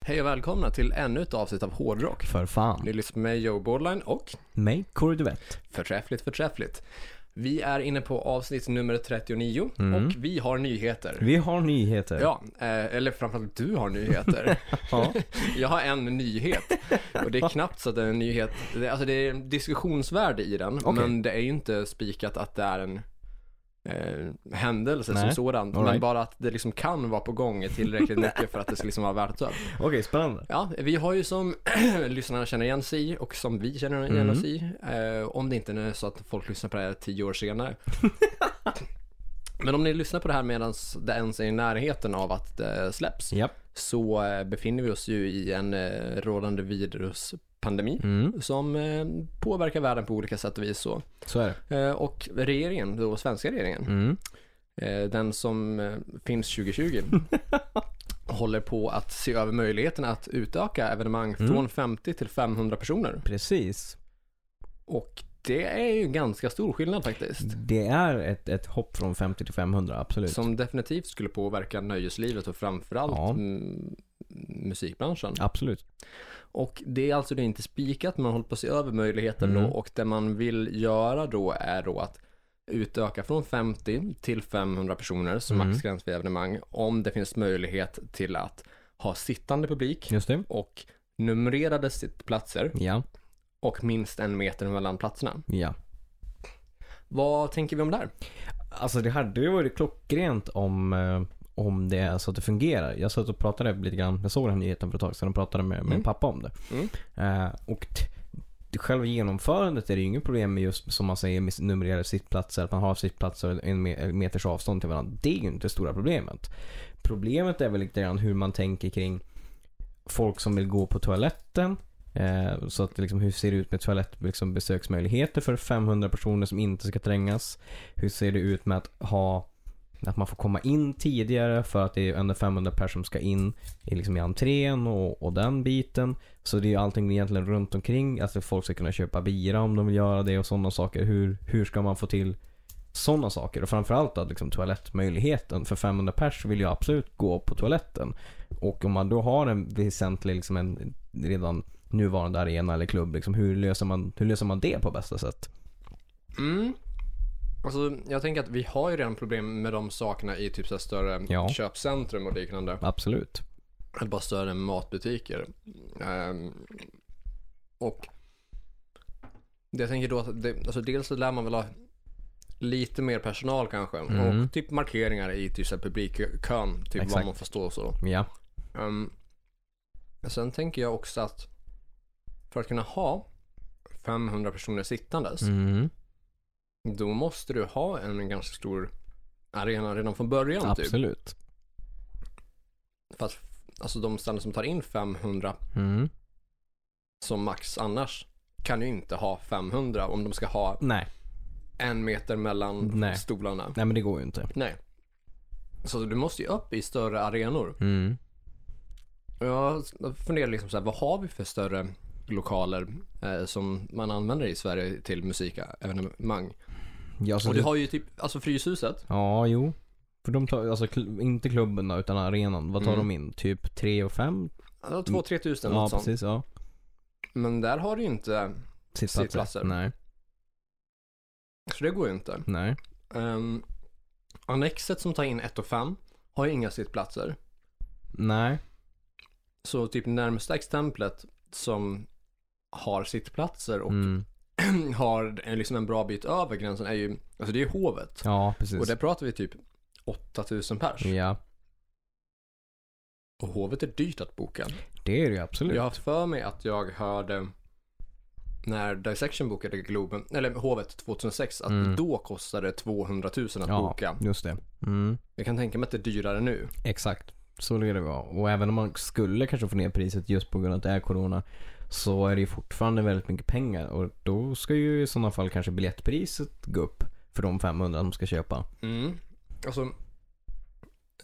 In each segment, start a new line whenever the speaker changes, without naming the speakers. Hej och välkomna till ännu ett avsnitt av Hårdrock.
För fan.
Ni lyssnar på mig, Joe Bordline och
Mig, Kåre Duvett.
förträffligt, förträffligt. Vi är inne på avsnitt nummer 39 och vi har nyheter.
Mm. Vi har nyheter.
Ja, eh, eller framförallt du har nyheter.
Ja.
Jag har en nyhet och det är knappt så att det är en nyhet. Det, alltså det är diskussionsvärde i den,
Okej.
men det är ju inte spikat att det är en eh, händelse som
Nej,
sådan.
all
Men
right.
bara att det liksom kan vara på gång är tillräckligt mycket för att det ska liksom vara värt att ta upp.
Okej, spännande.
Ja, vi har ju som lyssnarna känner igen sig i och som vi känner igen oss i, eh, om det inte är så att folk lyssnar på det här tio år senare. Men om ni lyssnar på det här medan det ens är i närheten av att det släpps,
Japp.
så eh, befinner vi oss ju i en eh, rådande viruspandemi som eh, påverkar världen på olika sätt och vis. Så.
Så är det.
Eh, och regeringen, då svenska regeringen,
Mm.
eh, den som eh, finns 2020, håller på att se över möjligheten att utöka evenemang från 50 till 500 personer.
Precis.
Och det är ju ganska stor skillnad faktiskt.
Det är ett, ett hopp från 50 till 500, absolut.
Som definitivt skulle påverka nöjeslivet och framförallt
Ja.
mm, musikbranschen.
Absolut.
Och det är alltså det inte spikat, man håller på att se över möjligheten
Mm.
då och det man vill göra då är då att utöka från 50 till 500 personer som
Mm.
maxgräns vid evenemang om det finns möjlighet till att ha sittande publik
Just det.
och numrerade sittplatser
Ja.
och minst en meter mellan platserna.
Ja.
Vad tänker vi om det här?
Alltså det hade ju varit klockrent om, eh, om det är så att det fungerar. Jag satt och pratade lite grann, jag såg den här nyheten för ett tag sedan och pratade med, med
Mm.
pappa om det.
Mm.
Eh, och t- det- själva genomförandet är det ju inget problem med just som man säger med numrerade sittplatser, att man har sittplatser en me- meters avstånd till varandra. Det är ju inte det stora problemet. Problemet är väl lite grann hur man tänker kring folk som vill gå på toaletten. Eh, så att liksom, hur ser det ut med toalett, liksom, besöksmöjligheter för 500 personer som inte ska trängas? Hur ser det ut med att ha att man får komma in tidigare för att det är ändå 500 personer som ska in i, liksom i entrén och, och den biten. Så det är ju allting egentligen runt omkring. Alltså folk ska kunna köpa bira om de vill göra det och sådana saker. Hur, hur ska man få till sådana saker? Och framförallt att liksom toalettmöjligheten. För 500 personer vill ju absolut gå på toaletten. Och om man då har en väsentlig, liksom en redan nuvarande arena eller klubb. Liksom, hur, löser man, hur löser man det på bästa sätt?
Mm. Alltså, jag tänker att vi har ju redan problem med de sakerna i typ så här större
Ja.
köpcentrum och liknande.
Absolut.
Eller bara större matbutiker. Ehm, och det jag tänker då att det, alltså dels så lär man väl ha lite mer personal kanske.
Mm.
Och typ markeringar i typ så här publikkön. Typ var
Exakt.
man får stå och så.
Ja.
Um, sen tänker jag också att för att kunna ha 500 personer sittandes.
Mm.
Då måste du ha en ganska stor arena redan från början. Typ.
Absolut.
För att alltså, de ställen som tar in 500
Mm.
som max annars kan ju inte ha 500 om de ska ha
Nej.
en meter mellan
Nej.
stolarna.
Nej men det går ju inte.
Nej. Så du måste ju upp i större arenor.
Mm.
Och Jag funderar liksom så här, vad har vi för större lokaler eh, som man använder i Sverige till musikevenemang?
Ja, så
Och du
det...
har ju typ, alltså Fryshuset.
ja jo. För de tar, alltså kl- inte klubben då, utan arenan. Vad tar
Mm.
de in? Typ 3 och 5?
Ja, 2-3 tusen
Mm. Ja
något sånt.
precis ja.
Men där har du ju inte,
Sittplatser.
Sittplatser.
Nej.
så det går ju inte.
Nej.
Ehm, annexet som tar in 1 och 5 har ju inga sittplatser.
Nej.
Så typ närmsta exemplet som har sittplatser och
Mm.
har en- liksom en bra bit över gränsen är ju, alltså det är ju hovet.
Ja precis.
Och där pratar vi typ 8000 pers.
Ja.
Och hovet är dyrt att boka.
Det är det ju absolut.
Jag har haft för mig att jag hörde när Dissection bokade Globen, eller hovet 2006, att
Mm.
då kostade det 200 000 att
ja,
boka.
Just det. Mm.
Jag kan tänka mig att det är dyrare nu.
Exakt. Så lär det vara. Och även om man skulle kanske få ner priset just på grund av att det är corona. Så är det ju fortfarande väldigt mycket pengar. Och då ska ju i sådana fall kanske biljettpriset gå upp. För de 500 som ska köpa.
Mm. Alltså,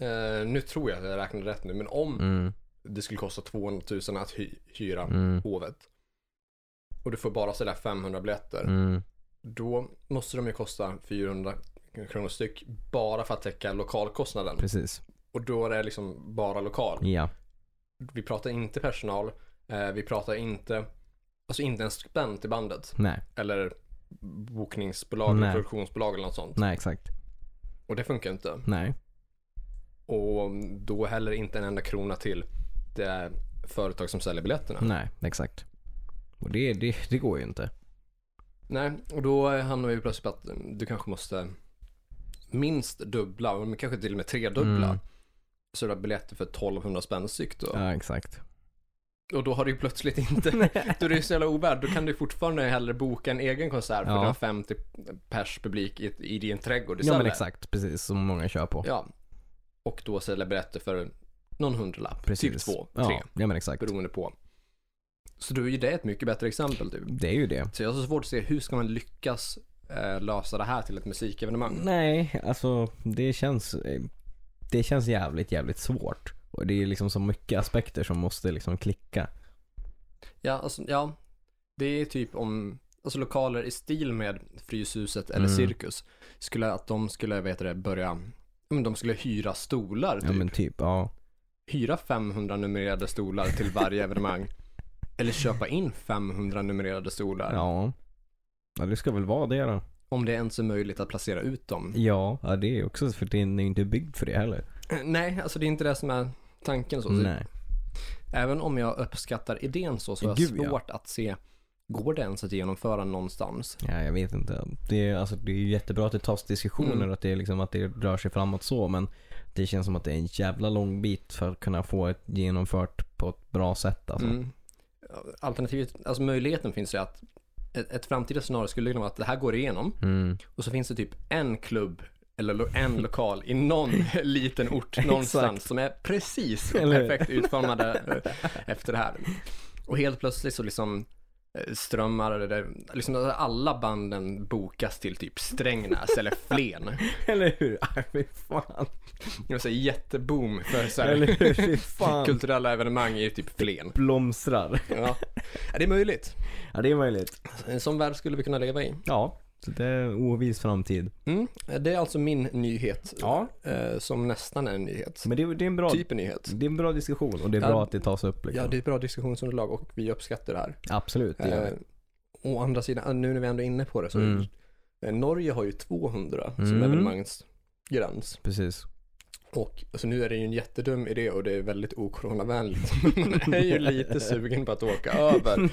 eh, nu tror jag att jag räknade rätt nu, men om
Mm.
det skulle kosta 200 000 att hy- hyra
Mm.
hovet och du får bara sådär 500 biljetter,
Mm.
då måste de ju kosta 400 kronor styck bara för att täcka lokalkostnaden.
Precis.
Och då är det liksom bara lokal.
Ja.
Vi pratar inte personal. Eh, vi pratar inte, alltså inte en spänn i bandet.
Nej,
Eller bokningsbolag, eller
Nej.
produktionsbolag eller något sånt.
nej exakt.
Och det funkar inte.
Nej.
Och då heller inte en enda krona till det företag som säljer biljetterna.
Nej, exakt. Och det, det, det går ju inte.
Nej, och då hamnar vi plötsligt på att du kanske måste minst dubbla, men kanske till och med tredubbla.
Mm.
Så du har biljetter för 1200 spänn styck då.
Ja, exakt.
Och då har du ju plötsligt inte, då är det ju så jävla ovärd. Då kan du fortfarande hellre boka en egen konsert för
Ja.
du har 50 pers publik i, i din trädgård
Ja
istället.
men exakt, precis som många kör på.
Ja. Och då säljer biljetter för någon hundralapp,
precis.
typ två,
ja.
tre,
Ja men exakt.
beroende på. Så då är ju det ett mycket bättre exempel typ.
Det är ju det.
Så jag har så svårt att se hur ska man lyckas eh, lösa det här till ett musikevenemang.
Nej, alltså det känns, eh, det känns jävligt, jävligt svårt. Och det är liksom så mycket aspekter som måste liksom klicka.
Ja, alltså, ja. Det är typ om, alltså lokaler i stil med Fryshuset eller
Mm.
Cirkus, skulle att de skulle, vet det, börja, ja, men de skulle hyra stolar typ.
Ja men typ, ja.
Hyra 500 numrerade stolar till varje evenemang. Eller köpa in 500 numrerade stolar.
Ja. Ja det ska väl vara det då.
Om det ens är möjligt att placera ut dem.
Ja, ja det är också för den är ju inte byggd för det heller.
Nej, alltså det är inte det som är tanken så. så
Nej.
även om jag uppskattar idén så, så har jag
Gud, ja.
svårt att se, går det ens att genomföra någonstans?
Ja, jag vet inte. Det är, alltså, det är ju jättebra att det tas diskussioner
Mm.
och att det, är liksom, att det rör sig framåt så men det känns som att det är en jävla lång bit för att kunna få ett genomfört på ett bra sätt alltså.
Mm. Alternativet, alltså möjligheten finns ju att ett, ett framtida scenario skulle kunna vara att det här går igenom
Mm.
och så finns det typ en klubb eller lo- en lokal i någon liten ort någonstans som är precis
Eller hur?
perfekt utformade eh, efter det här. Och helt plötsligt så liksom eh, strömmar det där, liksom alla banden bokas till typ Strängnäs eller Flen.
Eller hur? Aj, fy fan.
Det var så här jätteboom för så
Eller
här
hur? Fy fan.
kulturella evenemang i typ Flen.
Blomstrar.
Ja. ja, det är möjligt.
Ja, det är möjligt.
En sån eh, värld skulle vi kunna leva i.
Ja. Så det är en oviss framtid.
Mm. Det är alltså min nyhet.
Ja.
Eh, som nästan är en nyhet.
Men det, är- det är en bra,
Typ en nyhet.
det är en bra diskussion och det är
Ja.
bra att det tas upp liksom.
Ja, det är ett bra diskussionsunderlag och vi uppskattar det här.
Absolut, det gör
Eh, å andra sidan, eh, nu när vi ändå är inne på det så
Mm.
eh, Norge har ju 200 som
Mm.
evenemangsgräns.
Precis.
Och alltså, nu är det ju en jättedum idé och det är väldigt okoronavänligt. Man är ju lite sugen på att åka över.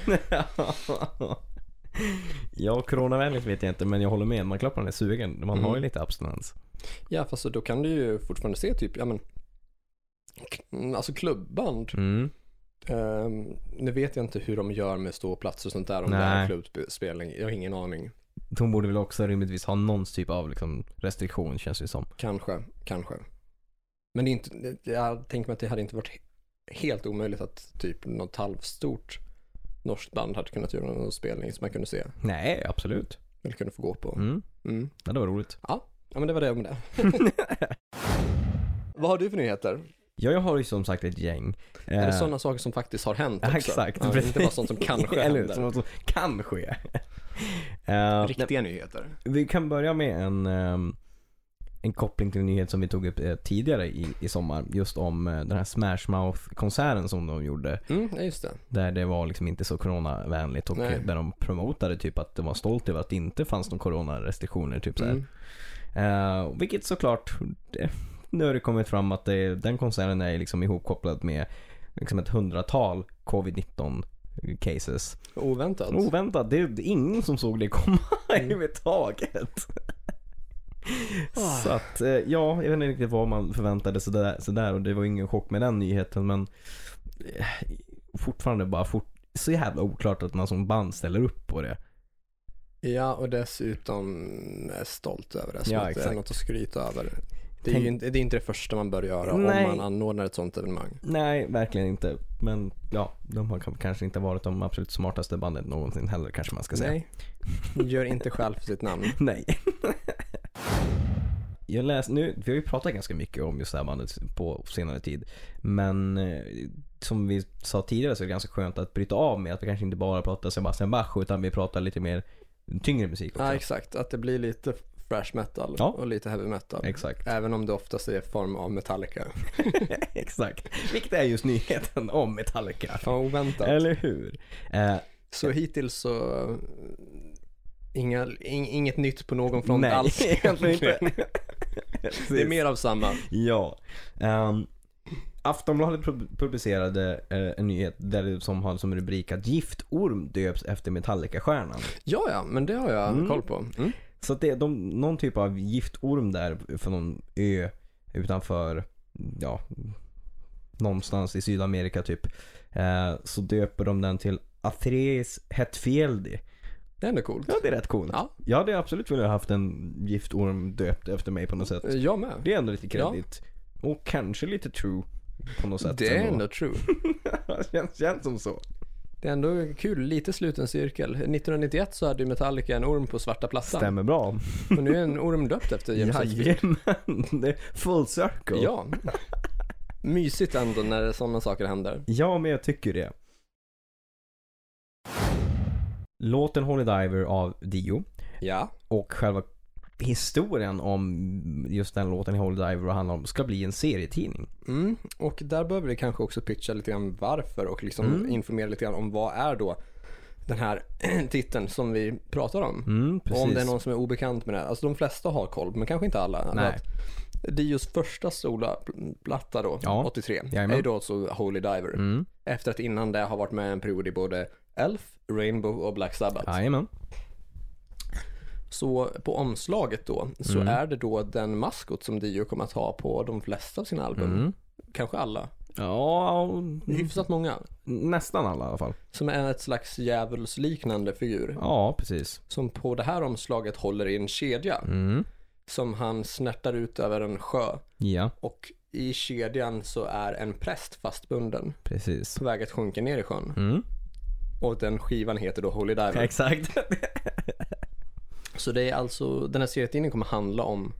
ja, coronavänligt vet jag inte men jag håller med. Man klappar den är sugen. Man har
Mm.
ju lite abstinens.
Ja, fast så då kan du ju fortfarande se typ, ja men, k- mm, alltså klubbband
Mm.
Ehm, nu vet jag inte hur de gör med ståplatser och sånt där om det är
Nej.
en klubbspelning. Jag har ingen aning.
De borde väl också rimligtvis ha någon typ av liksom, restriktion känns det som.
Kanske, kanske. Men det är inte, jag tänker mig att det hade inte varit he- helt omöjligt att typ något halvstort norskt band hade kunnat göra någon spelning som man kunde se
Nej, absolut.
eller kunde få gå på.
Mm.
Mm.
Ja, det var roligt.
Ja men det var det om det. Vad har du för nyheter?
Ja, jag har ju som sagt ett gäng.
Är det
Eh,
sådana saker som faktiskt har hänt också?
Exakt,
Ja,
precis.
inte bara sånt som kanske
Eller hur?
händer.
Som, som kan ske. Eh,
Riktiga nyheter.
vi kan börja med en, ehm, en koppling till en nyhet som vi tog upp eh, tidigare i, i sommar. Just om eh, den här Smash Mouth-konserten som de gjorde.
Mm, ja, just det.
Där det var liksom inte så coronavänligt och
Nej.
eh, där de promotade typ att de var stolta över att det inte fanns några coronarestriktioner. Typ så här.
Mm.
Eh, vilket såklart, det, nu har det kommit fram att det, den konserten är liksom ihopkopplad med liksom ett hundratal covid-19 cases.
Oväntat.
Oväntat, det är ingen som såg det komma överhuvudtaget. Så att, eh, ja, jag vet inte riktigt vad man förväntade sig där, så där och det var ingen chock med den nyheten men eh, fortfarande bara fort, så jävla oklart att man som band ställer upp på det.
Ja, och dessutom är stolt över det. Som
Ja,
att det är
exakt.
något att skryta över. Det är,
Tänk-
ju inte, det är inte det första man bör göra
Nej.
om man anordnar ett sånt evenemang.
Nej, verkligen inte. Men ja, de har k- kanske inte varit de absolut smartaste bandet någonsin heller kanske man ska säga.
Nej, gör inte skäl för sitt namn.
Nej. Jag läste, nu, vi har ju pratat ganska mycket om just det här bandet på senare tid. Men eh, som vi sa tidigare så är det ganska skönt att bryta av med att vi kanske inte bara pratar Sebastian Bach utan vi pratar lite mer tyngre musik också.
Ja, exakt. Att det blir lite thrash metal
Ja.
och lite heavy metal.
Exakt.
Även om det oftast är i form av Metallica.
Exakt. Vilket är just nyheten om Metallica.
Fan vad oväntat.
Eller hur? Eh,
Så hittills så eh, inga, ing, inget nytt på någon front
nej,
alls.
egentligen inte.
Det är mer av samma.
Ja. Ehm, Aftonbladet pub- publicerade eh, en nyhet där det som har som rubrik att giftorm döps efter Metallica-stjärnan.
Ja, ja, men det har jag
Mm.
koll på. Mm.
Så att det är de, någon typ av giftorm där från någon ö utanför, ja, någonstans i Sydamerika typ. Eh, så döper de den till Atreis Hetfieldi.
Det är ändå coolt.
Ja, det är rätt coolt.
Ja.
Jag hade absolut velat haft en giftorm döpt efter mig på något sätt.
Jag med.
Det är ändå lite kredit. Och kanske lite true på något sätt.
Det är
ändå.
ändå true.
känns, känns som så.
Det är ändå kul, lite sluten cirkel. 1991 så hade ju Metallica en orm på svarta plattan.
Stämmer bra.
Och nu är en orm döpt efter James Hetfield.
Jajamän. Det är Full circle.
Ja. Mysigt ändå när sådana saker händer.
ja, men jag tycker det. Låten Holy Diver av Dio
Ja.
och själva historien om just den låten i Holy Diver och handlar om ska bli en serietidning.
Mm. Och där behöver vi kanske också pitcha lite grann varför och liksom
Mm.
informera lite grann om vad är då den här titeln som vi pratar om.
Mm,
Och om det är någon som är obekant med det här. Alltså de flesta har koll, men kanske inte alla.
Nej.
Att Dios första soloplatta då,
Ja.
83,
Jajamän.
är ju då alltså Holy Diver.
Mm.
Efter att innan det har varit med en period i både Elf, Rainbow och Black Sabbath.
Jajamän.
Så på omslaget då så
Mm.
är det då den maskot som Dio kommer att ha på de flesta av sina album.
Mm.
Kanske alla.
Ja, och-
Hyfsat många.
nästan alla i alla fall.
Som är ett slags djävulsliknande figur.
Ja, precis.
Som på det här omslaget håller i en kedja.
Mm.
Som han snärtar ut över en sjö.
Ja,
Och i kedjan så är en präst fastbunden.
precis.
På väg att sjunka ner i sjön.
Mm.
Och den skivan heter då Holy Diver.
Exakt.
Så det är alltså, den här serietidningen kommer handla om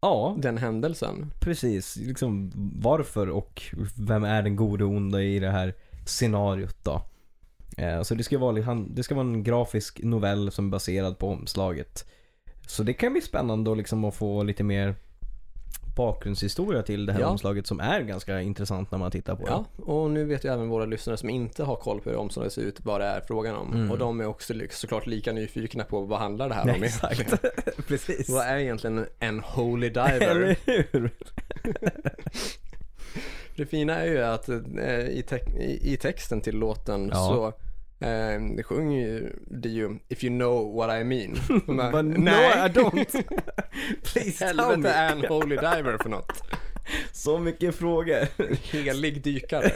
ja,
den händelsen.
Precis, liksom varför och vem är den gode och onda i det här scenariot då? Eh, Så det ska vara, li- han- det ska vara en grafisk novell som är baserad på omslaget. Så det kan bli spännande att liksom att få lite mer bakgrundshistoria till det här
Ja.
omslaget som är ganska intressant när man tittar på
Ja, och nu vet ju även våra lyssnare som inte har koll på hur omslaget ser ut vad det är frågan om.
Mm.
Och de är också li- såklart lika nyfikna på vad handlar det här
det.
om egentligen.
Exakt, precis.
Vad är egentligen en holy diver?
Eller hur?
det fina är ju att eh, i, te- i i texten till låten
Ja.
så eh, sjunger ju det ju If you know what I mean. Och man bara,
But no I
Nej,
don't. Please tell
helvete
me.
är en holy diver för något.
Så mycket frågor.
Helig dykare.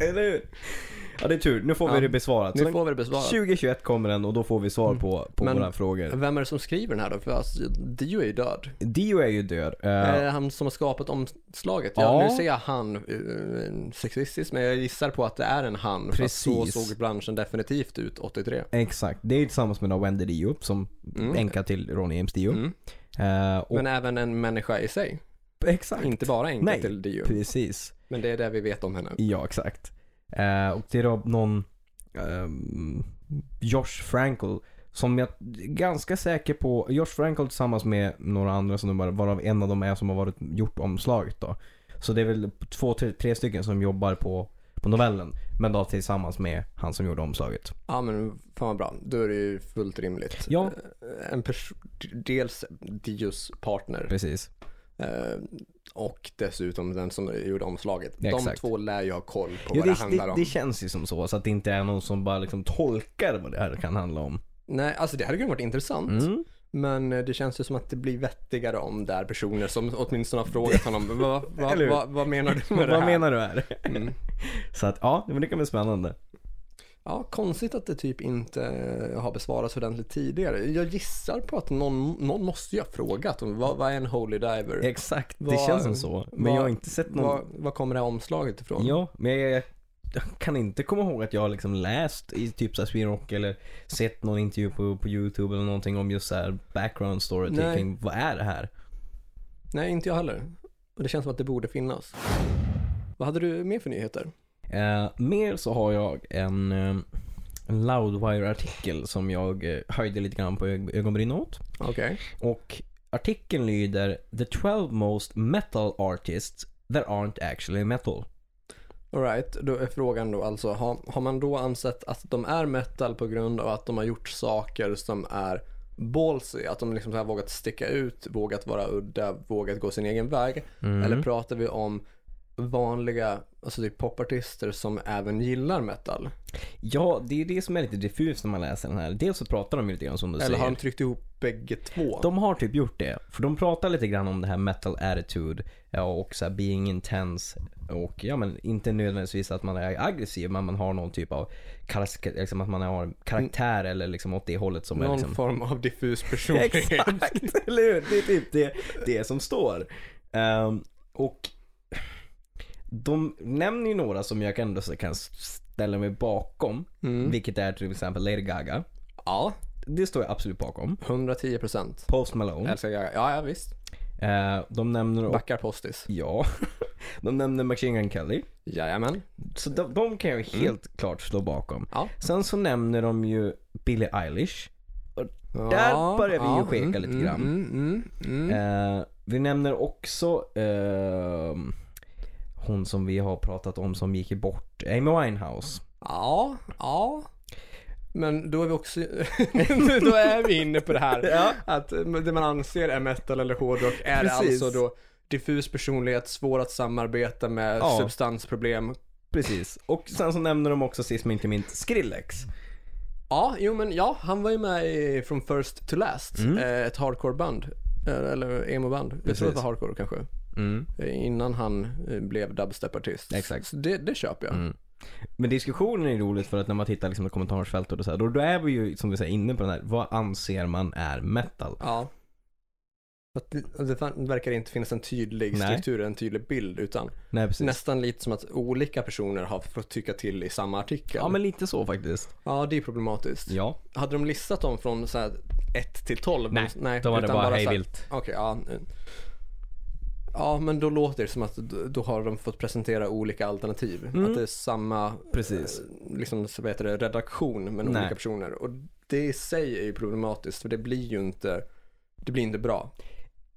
Eller hur? Ja det är tur, nu får vi
Ja.
det besvarat. Så
Nu får vi det besvarat.
2021 kommer den och då får vi svar på, på
Mm. Men-
våra frågor.
Vem är det som skriver den här då? För alltså, Dio är ju död.
Dio är ju död. Eh,
Eh, han som har skapat omslaget. Ja,
Ja.
nu säger jag han eh, sexistiskt, men jag gissar på att det är en han. För att så
Precis.
såg branschen definitivt ut 83.
Exakt. Det är ju tillsammans med då Wendy Dio som änka till Ronny James Dio.
Mm.
Eh, och,
Men även en människa i sig.
exakt.
Inte bara enkelt
Nej.
till Dio.
Precis.
Men det är det vi vet om henne.
Ja, exakt. Eh, och det är då någon ehm, Josh Frankel som jag är ganska säker på. Josh Frankel tillsammans med några andra som de bara, varav en av dem är som har varit, gjort omslaget då. Så det är väl två, tre, tre stycken som jobbar på, på novellen. Men då tillsammans med han som gjorde omslaget.
Ja men fan vad bra. Då är det ju fullt rimligt.
Ja.
Eh, En pers- dels Dios partner
Precis.
eh, och dessutom den som gjorde omslaget.
Ja,
De
exakt.
två lär ju ha koll på
Ja,
vad det,
det,
handlar
det,
om.
det känns ju som så. Så att det inte är någon som bara liksom tolkar vad det här kan handla om.
Nej, alltså det hade kunnat varit intressant.
Mm.
Men eh, det känns ju som att det blir vettigare om det är personer som åtminstone har frågat honom. Vad, vad,
Eller hur?
vad, vad menar du med
Vad
det här?
menar du här?
Mm.
Så att ja, men det kan bli spännande.
Ja, konstigt att det typ inte har besvarats ordentligt tidigare. Jag gissar på att någon, någon måste ju ha frågat om vad, vad är en holy diver?
Exakt, det
Vad-
känns som så. Men
vad-
jag har inte sett någon...
Var, var kommer det här omslaget ifrån?
Ja, men jag, jag, jag kan inte komma ihåg att jag har liksom läst i typ såhär Swinrock eller sett någon intervju på, på YouTube eller någonting om just såhär background story
Nej.
kring vad är det här?
Nej, inte jag heller. Och det känns som att det borde finnas. Vad hade du mer för nyheter?
Eh, mer så har jag en, eh, en Loudwire-artikel som jag eh, höjde lite grann på ög- ögonbrynen åt.
Okej.
Och artikeln lyder “The 12 most metal artists that aren't actually metal”.
Alright, då är frågan då alltså, har, har man då ansett att de är metal på grund av att de har gjort saker som är ballsy? Att de liksom så här vågat sticka ut, vågat vara udda, vågat gå sin egen väg?
Mm.
Eller pratar vi om vanliga, alltså typ popartister som även gillar metal?
Ja, det är det som är lite diffust när man läser den här. Dels så pratar de ju lite grann som du
Eller har
säger.
de tryckt ihop bägge två?
De har typ gjort det. För de pratar lite grann om det här metal attitude ja, och så här being intense. Och ja men inte nödvändigtvis att man är aggressiv men man har någon typ av karas- liksom att man har karaktär eller liksom åt det hållet som är
Mm. Någon
liksom...
form av diffus personlighet.
Exakt, eller hur? Det är typ det, det som står. Ehm, och de nämner ju några som jag ändå så kan ställa mig bakom.
Mm.
Vilket är till exempel Lady Gaga.
Ja,
Det står jag absolut bakom.
110 procent.
Post Malone.
Älskar Gaga. Ja, ja visst.
Eh, de nämner också...
Backar postis.
Ja. De nämner Machine Gun Kelly.
Jajamän.
Så de, de kan jag helt
Mm.
klart slå bakom.
Ja.
Sen så nämner de ju Billie Eilish.
Där
börjar vi ju skeka lite grann.
Mm, mm, mm.
Eh, vi nämner också ehm, hon som vi har pratat om som gick bort, Amy Winehouse.
Ja, ja. Men då är vi också, då är vi inne på det här
Ja.
att eh, det man anser är metal eller hårdrock är
Precis.
alltså då diffus personlighet, svår att samarbeta med,
Ja.
substansproblem.
Precis. Och sen så nämner de också sist men inte minst Skrillex.
Ja, jo men ja, han var ju med i From First to Last,
Mm.
eh, ett hardcore-band. eh, Eller emo-band. Jag tror att det var hardcore kanske. Eh, Innan han eh, blev dubstep-artist.
Mm. Exakt. Mm.
Så det, det köper jag.
Men diskussionen är roligt för att när man tittar liksom i kommentarsfältet och så här, då, då är vi ju som vi säger inne på den här, vad anser man är metal?
Ja. Att det, det fan- verkar inte finnas en tydlig
Nej.
struktur, en tydlig bild, utan
Nej precis.
nästan lite som att olika personer har fått tycka till i samma artikel.
Ja men lite så faktiskt.
Ja, det är problematiskt.
Ja.
Hade de listat dem från så här 1 till 12?
Nej, de hade
utan
bara
så
hej
här-
vilt.
Okej, ja. Ja, men då låter det som att d- då har de fått presentera olika alternativ.
Mm.
Att det är samma
Precis.
eh, liksom, så vad heter det, redaktion men
Nej.
olika personer. Och det i sig är ju problematiskt för det blir ju inte, det blir inte bra.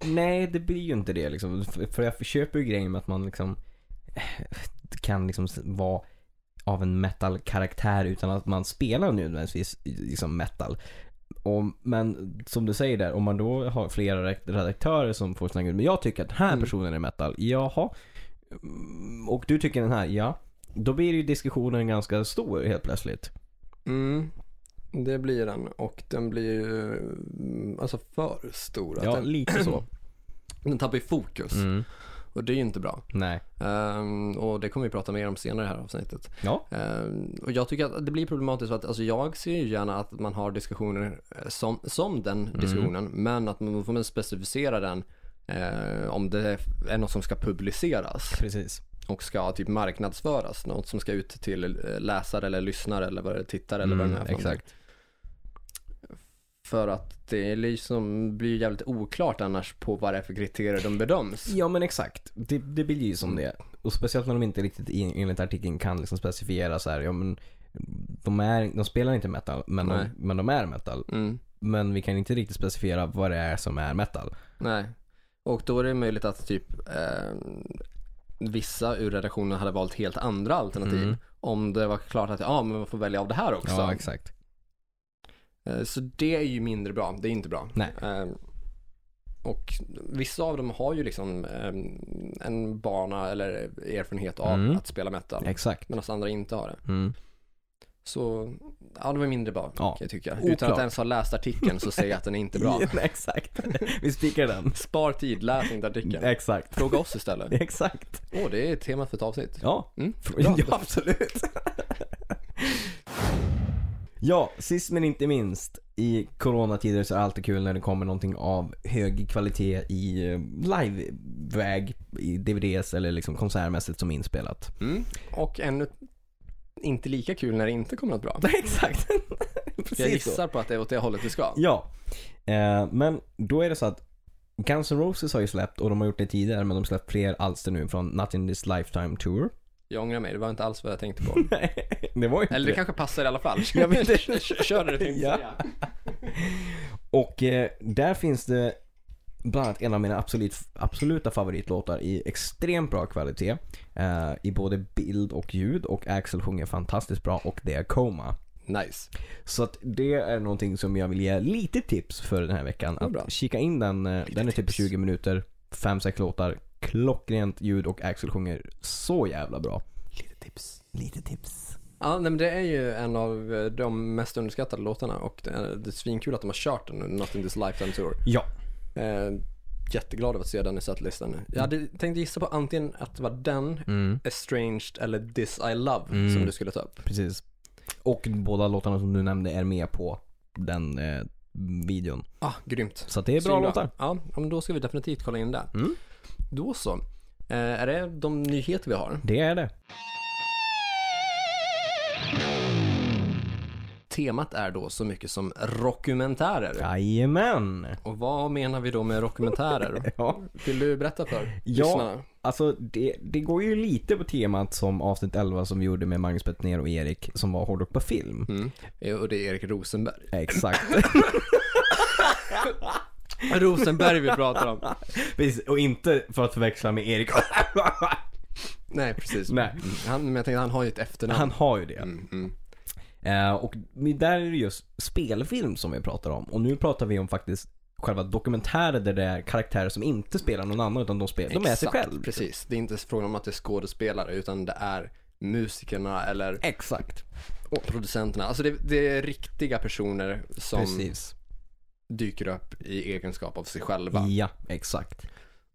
Nej, det blir ju inte det liksom. För för jag köper ju grejen med att man liksom eh, kan liksom s- vara av en metal-karaktär utan att man spelar nödvändigtvis i- liksom metal. Om, men som du säger där, om man då har flera re- redaktörer som får snacka ut, men jag tycker att den här personen är metal. Jaha. Mm, Och du tycker den här, ja. Då blir ju diskussionen ganska stor helt plötsligt.
Mm, det blir den och den blir ju mm, alltså för stor. Att
Ja,
den,
lite så.
den tappar ju fokus
Mm.
och det är ju inte bra.
Nej.
Ehm, och det kommer vi prata mer om senare i det här avsnittet.
Ja.
Ehm, och jag tycker att det blir problematiskt för att alltså, jag ser ju gärna att man har diskussioner eh, som, som den
Mm.
diskussionen men att man får man specificera den eh, om det är något som ska publiceras
Precis.
och ska typ marknadsföras. Något som ska ut till eh, läsare eller lyssnare eller vad det är, tittare eller vad det nu är. för någonting.
Mm, exakt.
För att det liksom blir jävligt oklart annars på vad det är för kriterier de bedöms.
Ja men exakt. Mm. Det, det blir ju som det. Och speciellt när de inte riktigt in, enligt artikeln kan liksom specifiera så här, ja men de, är, de spelar inte metal men de,
Nej.
men de är metal.
Mm.
Men vi kan inte riktigt specificera vad det är som är metal.
Nej. Och då är det möjligt att typ eh, vissa ur redaktionen hade valt helt andra alternativ.
Mm.
Om det var klart att ja, men man får välja av det här också.
Ja exakt.
Eh, Så det är ju mindre bra, det är inte bra.
Nej.
Eh, Och vissa av dem har ju liksom eh, en bana eller erfarenhet av
Mm.
att spela metal.
Exakt.
Medan andra inte har det.
Mm.
Så, ja det var mindre bra
Ja.
kan jag tycka. Utan
Oklart.
att ens ha läst artikeln så säger jag att den är inte bra.
Ja, exakt. Vi spikar den.
Spar tid, läs inte artikeln.
Exakt.
Fråga oss istället.
Exakt.
Åh, det är temat för ett avsnitt.
Ja.
Mm.
Ja, absolut. ja, sist men inte minst. I coronatider så är det alltid kul när det kommer någonting av hög kvalitet i eh, liveväg, i DVDs eller liksom konsertmässigt som är inspelat.
Mm. Och ännu inte lika kul när det inte kommer något bra.
Nej, exakt. Precis
Jag
så.
gissar på att det är åt det hållet vi ska.
Ja. Eh, men då är det så att Guns N' Roses har ju släppt, och de har gjort det tidigare, men de släppt fler alster nu från Not In This Lifetime Tour.
Jag ångrar mig, det var inte alls vad jag tänkte på.
Nej, det var ju inte
Eller
det.
det kanske passar i alla fall.
Jag vet inte.
Kör- Kör det du tänkte
Ja.
säga.
Och eh, där finns det bland annat en av mina absolut, absoluta favoritlåtar i extremt bra kvalitet. Eh, I både bild och ljud och Axel sjunger fantastiskt bra och det är Coma.
Nice.
Så att det är någonting som jag vill ge lite tips för den här veckan.
Det är bra.
Att kika in den. eh, Den är typ
tips.
20 minuter, 5-6 låtar. Klockrent ljud och Axel sjunger så jävla bra.
Lite tips. Lite tips. Ja, nej, men det är ju en av eh, de mest underskattade låtarna och det är, det är svinkul att de har kört den under Not in this lifetime tour.
Ja.
Eh, jätteglad över att se den i setlistan. Jag hade tänkt gissa på antingen att det var den,
Mm,
Estranged eller This I Love
Mm.
som du skulle ta upp.
precis. Och båda låtarna som du nämnde är med på den eh, videon.
Ah, grymt.
Så att det är bra
Svinbra.
låtar.
Ja, ja, men då ska vi definitivt kolla in det.
Mm.
Då så. Eh, är det de nyheter vi har?
Det är det.
Temat är då så mycket som rockumentärer.
Jajamän.
Och vad menar vi då med rockumentärer?
Ja,
Vill du berätta för
Ja.
lyssnarna?
alltså det, det går ju lite på temat som avsnitt 11 som vi gjorde med Magnus Bettner och Erik som var hårdrock på film.
Mm. Eh, Och det är Erik Rosenberg.
Exakt.
Rosenberg vi pratar om.
Precis, och inte för att förväxla med Erik.
Nej, precis.
Nej.
Mm. Han, men jag tänkte, han har ju ett efternamn.
Han har ju det.
Mm, mm.
Eh, och där är det just spelfilm som vi pratar om. Och nu pratar vi om faktiskt själva dokumentärer där det är karaktärer som inte spelar någon annan utan de, spelar, de är sig
Exakt,
själv.
Precis. Det är inte frågan om att det är skådespelare, utan det är musikerna eller
Eh. Exakt.
producenterna. Alltså det, det är riktiga personer som
Precis.
dyker upp i egenskap av sig själva.
Ja, exakt.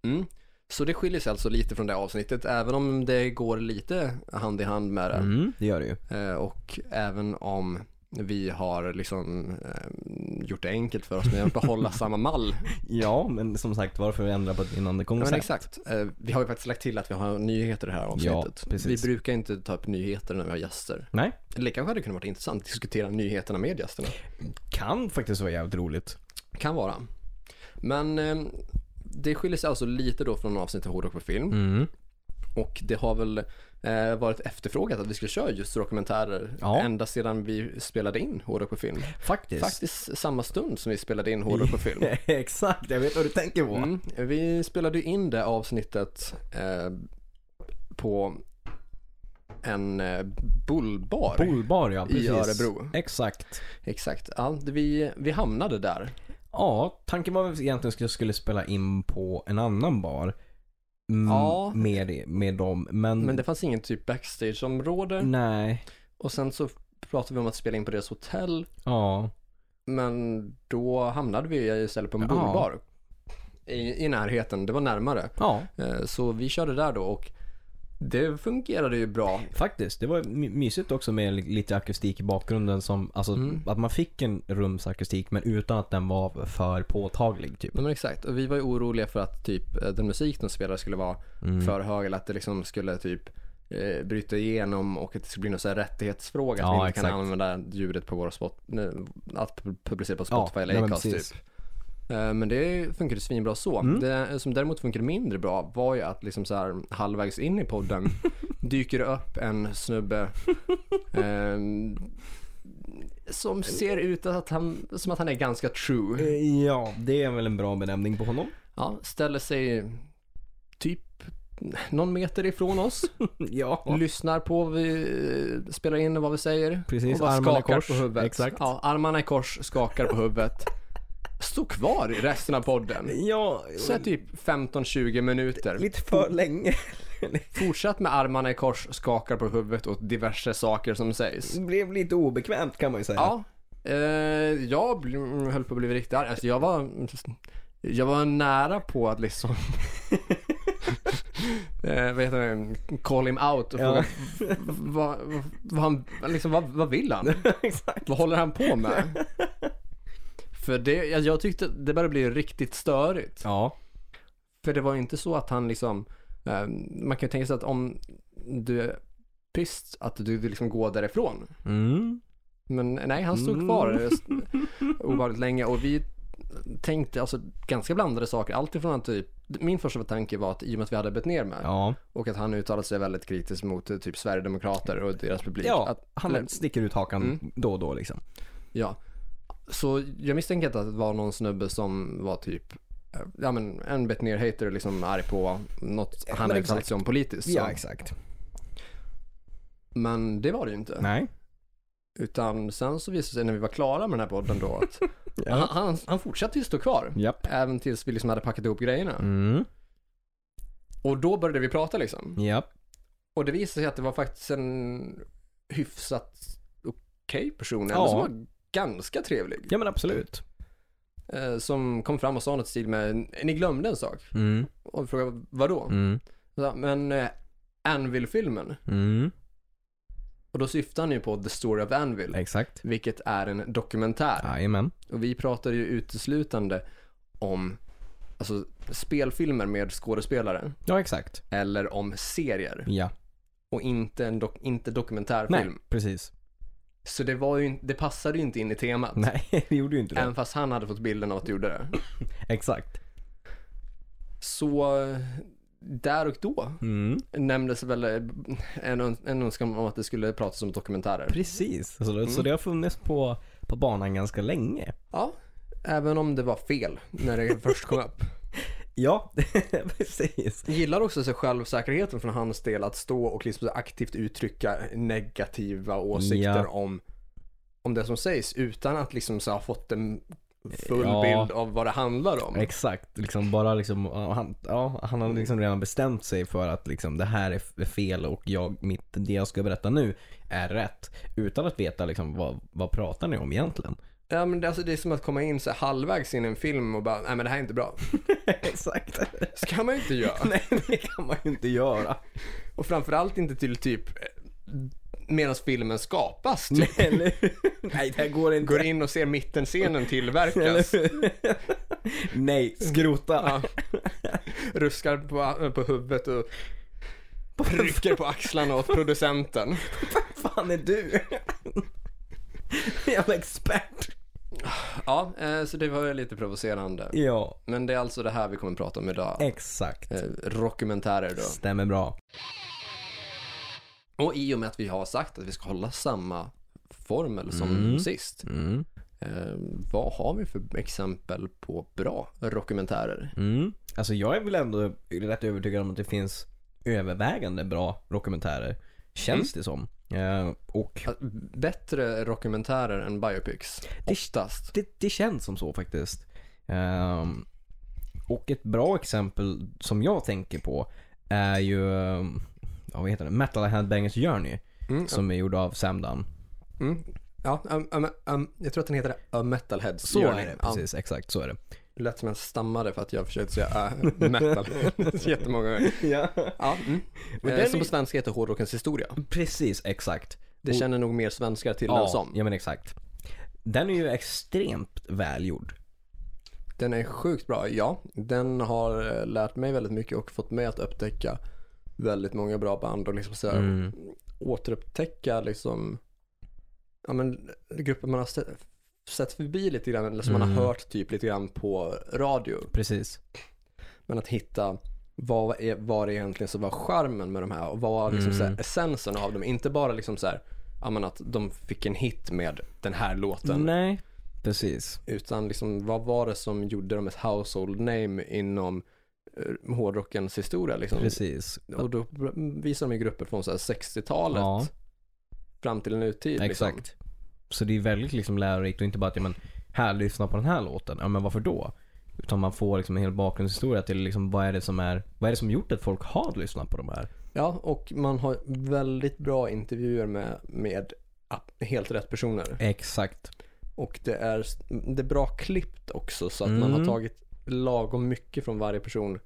Mm. Så det skiljer sig alltså lite från det avsnittet, även om det går lite hand i hand med det.
Mm, det gör det ju.
Eh, Och även om vi har liksom eh, gjort det enkelt för oss med att behålla samma mall.
Ja, men som sagt varför ändra på ett vinnande
Ja, men
koncept?
exakt. Eh, Vi har ju faktiskt lagt till att vi har nyheter i det här avsnittet.
Ja, precis.
vi brukar inte ta upp nyheter när vi har gäster.
Nej,
Eller kanske hade kunnat varit intressant att diskutera nyheterna med gästerna.
kan faktiskt vara jävligt roligt.
Kan vara. Men eh, det skiljer sig alltså lite då från avsnittet Hårdrock på film.
Mm.
Och det har väl eh, varit efterfrågat att vi skulle köra just dokumentärer
Ja.
ända sedan vi spelade in Hårdrock på film.
Faktiskt.
Faktiskt samma stund som vi spelade in Hårdrock på film.
exakt, jag vet vad du tänker på.
Mm, vi spelade ju in det avsnittet eh, på en eh, bullbar
Bolbar ja, precis.
i Örebro.
Exakt.
Exakt. Ja, det- vi, vi hamnade där.
Ja, tanken var väl egentligen att jag skulle spela in på en annan bar. Mm,
Ja.
Med, med dem, men...
Men det fanns ingen typ
Mm.
backstageområde.
Nej.
Och sen så pratade vi om att spela in på deras hotell.
Ja.
Men då hamnade vi istället på en
Ja.
bullbar. I, I närheten, det var närmare.
Ja,
Eh, Så vi körde där då och det fungerade ju bra.
faktiskt. Det var my- mysigt också med li- lite akustik i bakgrunden som, alltså
Mm.
att man fick en rumsakustik men utan att den var för påtaglig typ.
Nej, men exakt, och vi var ju oroliga för att typ eh, den musik de spelade skulle vara
Mm.
för hög eller att det liksom skulle typ eh, bryta igenom och att det skulle bli någon sån här rättighetsfråga
Ja,
att vi inte
exakt.
kan använda ljudet på våra spot, nej, att pu- publicera på
Ja,
Spotify
nej,
eller
men
Acast typ.
precis. Mm.
Eh, Men det funkade svinbra så. Det som däremot funkade mindre bra var ju att liksom så här halvvägs in i podden dyker det upp en snubbe eh, som ser ut att han, som att han är ganska true.
Eh, Ja, det är väl en bra benämning på honom.
Ja, ställer sig typ någon meter ifrån oss.
Ja.
Lyssnar på vad vi eh, spelar in och vad vi säger.
Precis,
och bara
armarna i
skakar
kors.
på huvudet.
Exakt.
Ja, armarna i kors, skakar på huvudet. Står kvar i resten av podden.
Ja,
Så här typ 15-20 minuter.
lite för länge.
Fortsatt med armarna i kors, skakar på huvudet och diverse saker som sägs.
Det blev lite obekvämt kan man ju säga.
Ja, eh, jag bl- mm, höll på att bli riktigt arg. Alltså jag var, jag var nära på att liksom eh, vad heter det, call him out och
Ja.
fråga v- vad, vad, vad, han, liksom, vad, vad vill han?
Exakt.
Vad håller han på med? För det, alltså, jag, jag tyckte det började bli riktigt störigt.
Ja.
För det var ju inte så att han liksom, eh, man kan ju tänka sig att om du är pist att du vill liksom gå därifrån.
Mm.
Men nej, han stod kvar eh, mm. ovanligt länge och vi tänkte alltså ganska blandade saker. Allt ifrån att typ min första tanke var att i och med att vi hade bett ner med
Ja.
och att han uttalade sig väldigt kritiskt mot eh, typ Sverigedemokrater och deras publik.
Ja,
Att, eller-
han sticker ut hakan då och då liksom.
ja. Så jag misstänker att det var någon snubbe som var typ eh, Ja men en bett ner hater liksom arg på något
Ja,
han
men
hade uttalat
exakt.
sig om politiskt. så.
Ja, exakt.
Men det var det ju inte.
Nej.
Utan sen så visade det sig när vi var klara med den här podden då att han,
Ja.
han, han fortsatte ju stå kvar.
Japp.
Även tills vi liksom hade packat ihop grejerna.
Mm.
Och då började vi prata liksom.
Japp.
Och det visade sig att det var faktiskt en hyfsat okej person.
Ja.
Eller som var ganska trevlig.
Ja men absolut.
Eh, som kom fram och sa något i stil med, ni glömde en sak.
Mm.
Och vi frågade, vadå?
Mm.
Mm. Men eh, Anvil-filmen.
Mm.
Och då syftar han ju på The Story of Anvil.
Exakt.
Vilket är en dokumentär.
Jajamän.
Och vi pratade ju uteslutande om alltså, spelfilmer med skådespelare.
Ja exakt.
Eller om serier.
Ja.
Och inte, en dok- inte
Nej,
dokumentärfilm.
precis.
Så det, var ju, in- det passade ju inte in i temat.
Nej, det gjorde ju inte det.
Även fast han hade fått bilden av att det gjorde det.
Exakt.
Så eh, där och då
Mm.
nämndes väl eh, en, öns- en önskan om att det skulle pratas om dokumentärer.
Precis. Så, det- så det har funnits på, på banan ganska länge.
Ja, även om det var fel när det först kom upp.
Ja, precis.
Jag gillar också så självsäkerheten från hans del att stå och liksom så aktivt uttrycka negativa åsikter
Ja.
om, om det som sägs utan att liksom så ha fått en full
Ja.
bild av vad det handlar om.
Exakt, liksom bara liksom, ja, han, ja, han har liksom redan bestämt sig för att liksom, det här är f- fel och jag, mitt, det jag ska berätta nu är rätt. Utan att veta liksom, vad, vad pratar ni om egentligen?
Ja, men det, alltså, det är som att komma in så här halvvägs in i en film och bara, nej men det här är inte bra.
Exakt.
Så kan man ju inte göra.
Nej, det kan man ju inte göra.
Och framförallt inte till typ medan filmen skapas. Typ.
Nej, eller hur? Nej, det här går inte.
Går in och ser mittenscenen tillverkas.
Eller hur? Nej, skrota.
Ja. Ruskar på, på huvudet och rycker på axlarna åt producenten.
fan är du? Jävla expert.
Ja, eh, så det var ju lite provocerande.
Ja,
Men det är alltså det här vi kommer att prata om idag.
exakt.
Eh, Rockumentärer då.
Stämmer bra.
Och i och med att vi har sagt att vi ska hålla samma formel som sist.
Mm.
Eh, vad har vi för exempel på bra rockumentärer?
Mm. Alltså jag är väl ändå rätt övertygad om att det finns övervägande bra dokumentärer. Känns det som. Eh, och
Att- Alltså, Bättre rockumentärer än biopics,
Det-
oftast.
det, det känns som så faktiskt. Ehm, och ett bra exempel som jag tänker på är ju ehm, ja, vad heter det? Metal Headbangers Journey.
Mm.
Som är gjord av Sam Dunn.
Mm. Ja, um, um, um, jag tror att den heter A Metalheads
Så
Journey.
är det,
Ja,
precis. Exakt så är det.
det lät som jag stammade för att jag försökte säga uh, metal jättemånga gånger.
Ja.
Ja, mm.
Men
eh,
den
som
är-
på svenska heter Hårdrockens historia.
Precis, exakt.
Det känner nog mer svenskar till den
Ja,
som.
ja men exakt. Den är ju extremt välgjord.
Den är sjukt bra, ja. Den har eh, lärt mig väldigt mycket och fått mig att upptäcka väldigt många bra band och liksom så här, återupptäcka liksom, ja men grupper man har sett, sett förbi lite grann eller som man har hört typ lite grann på radio.
Precis.
Men att hitta vad är, var det egentligen som var charmen med de här och vad var liksom så här, essensen av dem? Inte bara liksom så här, ja men att de fick en hit med den här låten.
Nej, precis.
Utan liksom, vad var det som gjorde dem ett household name inom eh, hårdrockens historia? Liksom?
Precis.
Och då visar de ju grupper från så här 60-talet
Ja.
fram till nutid. Liksom.
Exakt. Så det är väldigt liksom lärorikt och inte bara att ja, men, här lyssna på den här låten. Ja men varför då? Utan man får liksom en hel bakgrundshistoria till liksom, vad är det som är, vad är det som gjort att folk har lyssnat på de här?
Ja, och man har väldigt bra intervjuer med, med ap- helt rätt personer.
Exakt.
Och det är, det är bra klippt också så att man har
Mm.
tagit lagom mycket från varje person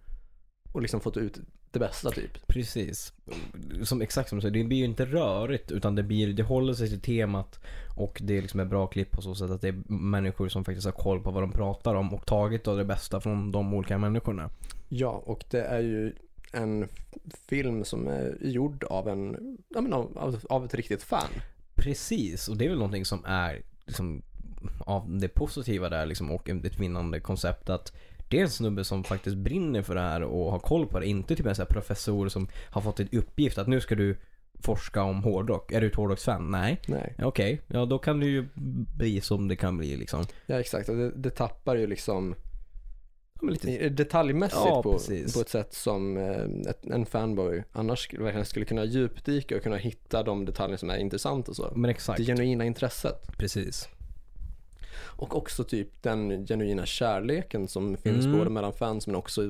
och liksom fått ut det bästa typ.
Precis. Som, exakt som du säger, det blir ju inte rörigt utan det, blir, det håller sig till temat och det är liksom ett bra klipp på så sätt att det är människor som faktiskt har koll på vad de pratar om och tagit av det bästa från de olika människorna.
Ja, och det är ju en f- film som är gjord av en, ja men av, av- av ett riktigt fan.
Precis, och det är väl någonting som är liksom, av det positiva där liksom, och ett vinnande koncept att det är en snubbe som faktiskt brinner för det här och har koll på det. Inte typ en så här professor som har fått ett uppgift att nu ska du forska om hårdrock. Är du ett hårdrocksfan? Nej.
Nej.
Ja, Okej, ja då kan det ju bli som det kan bli liksom.
Ja, exakt. Och det, det tappar ju liksom
Ja, men lite
detaljmässigt
Ja,
på,
precis.
på ett sätt som eh, ett, en fanboy annars skulle- verkligen skulle kunna djupdyka och kunna hitta de detaljer som är intressanta och så.
Men exakt.
Det genuina intresset.
Precis.
Och också typ den genuina kärleken som finns
Mm.
både mellan fans men också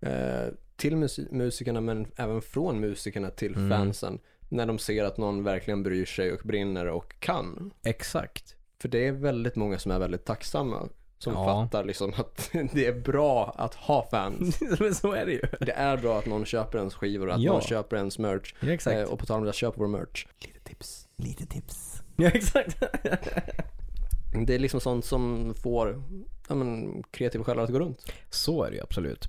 eh, till mus- musikerna men även från musikerna till
Mm.
fansen. När de ser att någon verkligen bryr sig och brinner och kan.
Exakt.
För det är väldigt många som är väldigt tacksamma. Som
Ja.
fattar liksom att det är bra att ha fans.
men så är det ju.
Det är bra att någon köper ens skivor och att
Ja.
någon köper ens merch.
Ja, exakt.
Eh, och på tal om det, köp vår merch.
Lite tips. Lite tips. Ja, exakt.
Det är liksom sånt som får ja, men, kreativa själar att gå runt.
så är det ju absolut.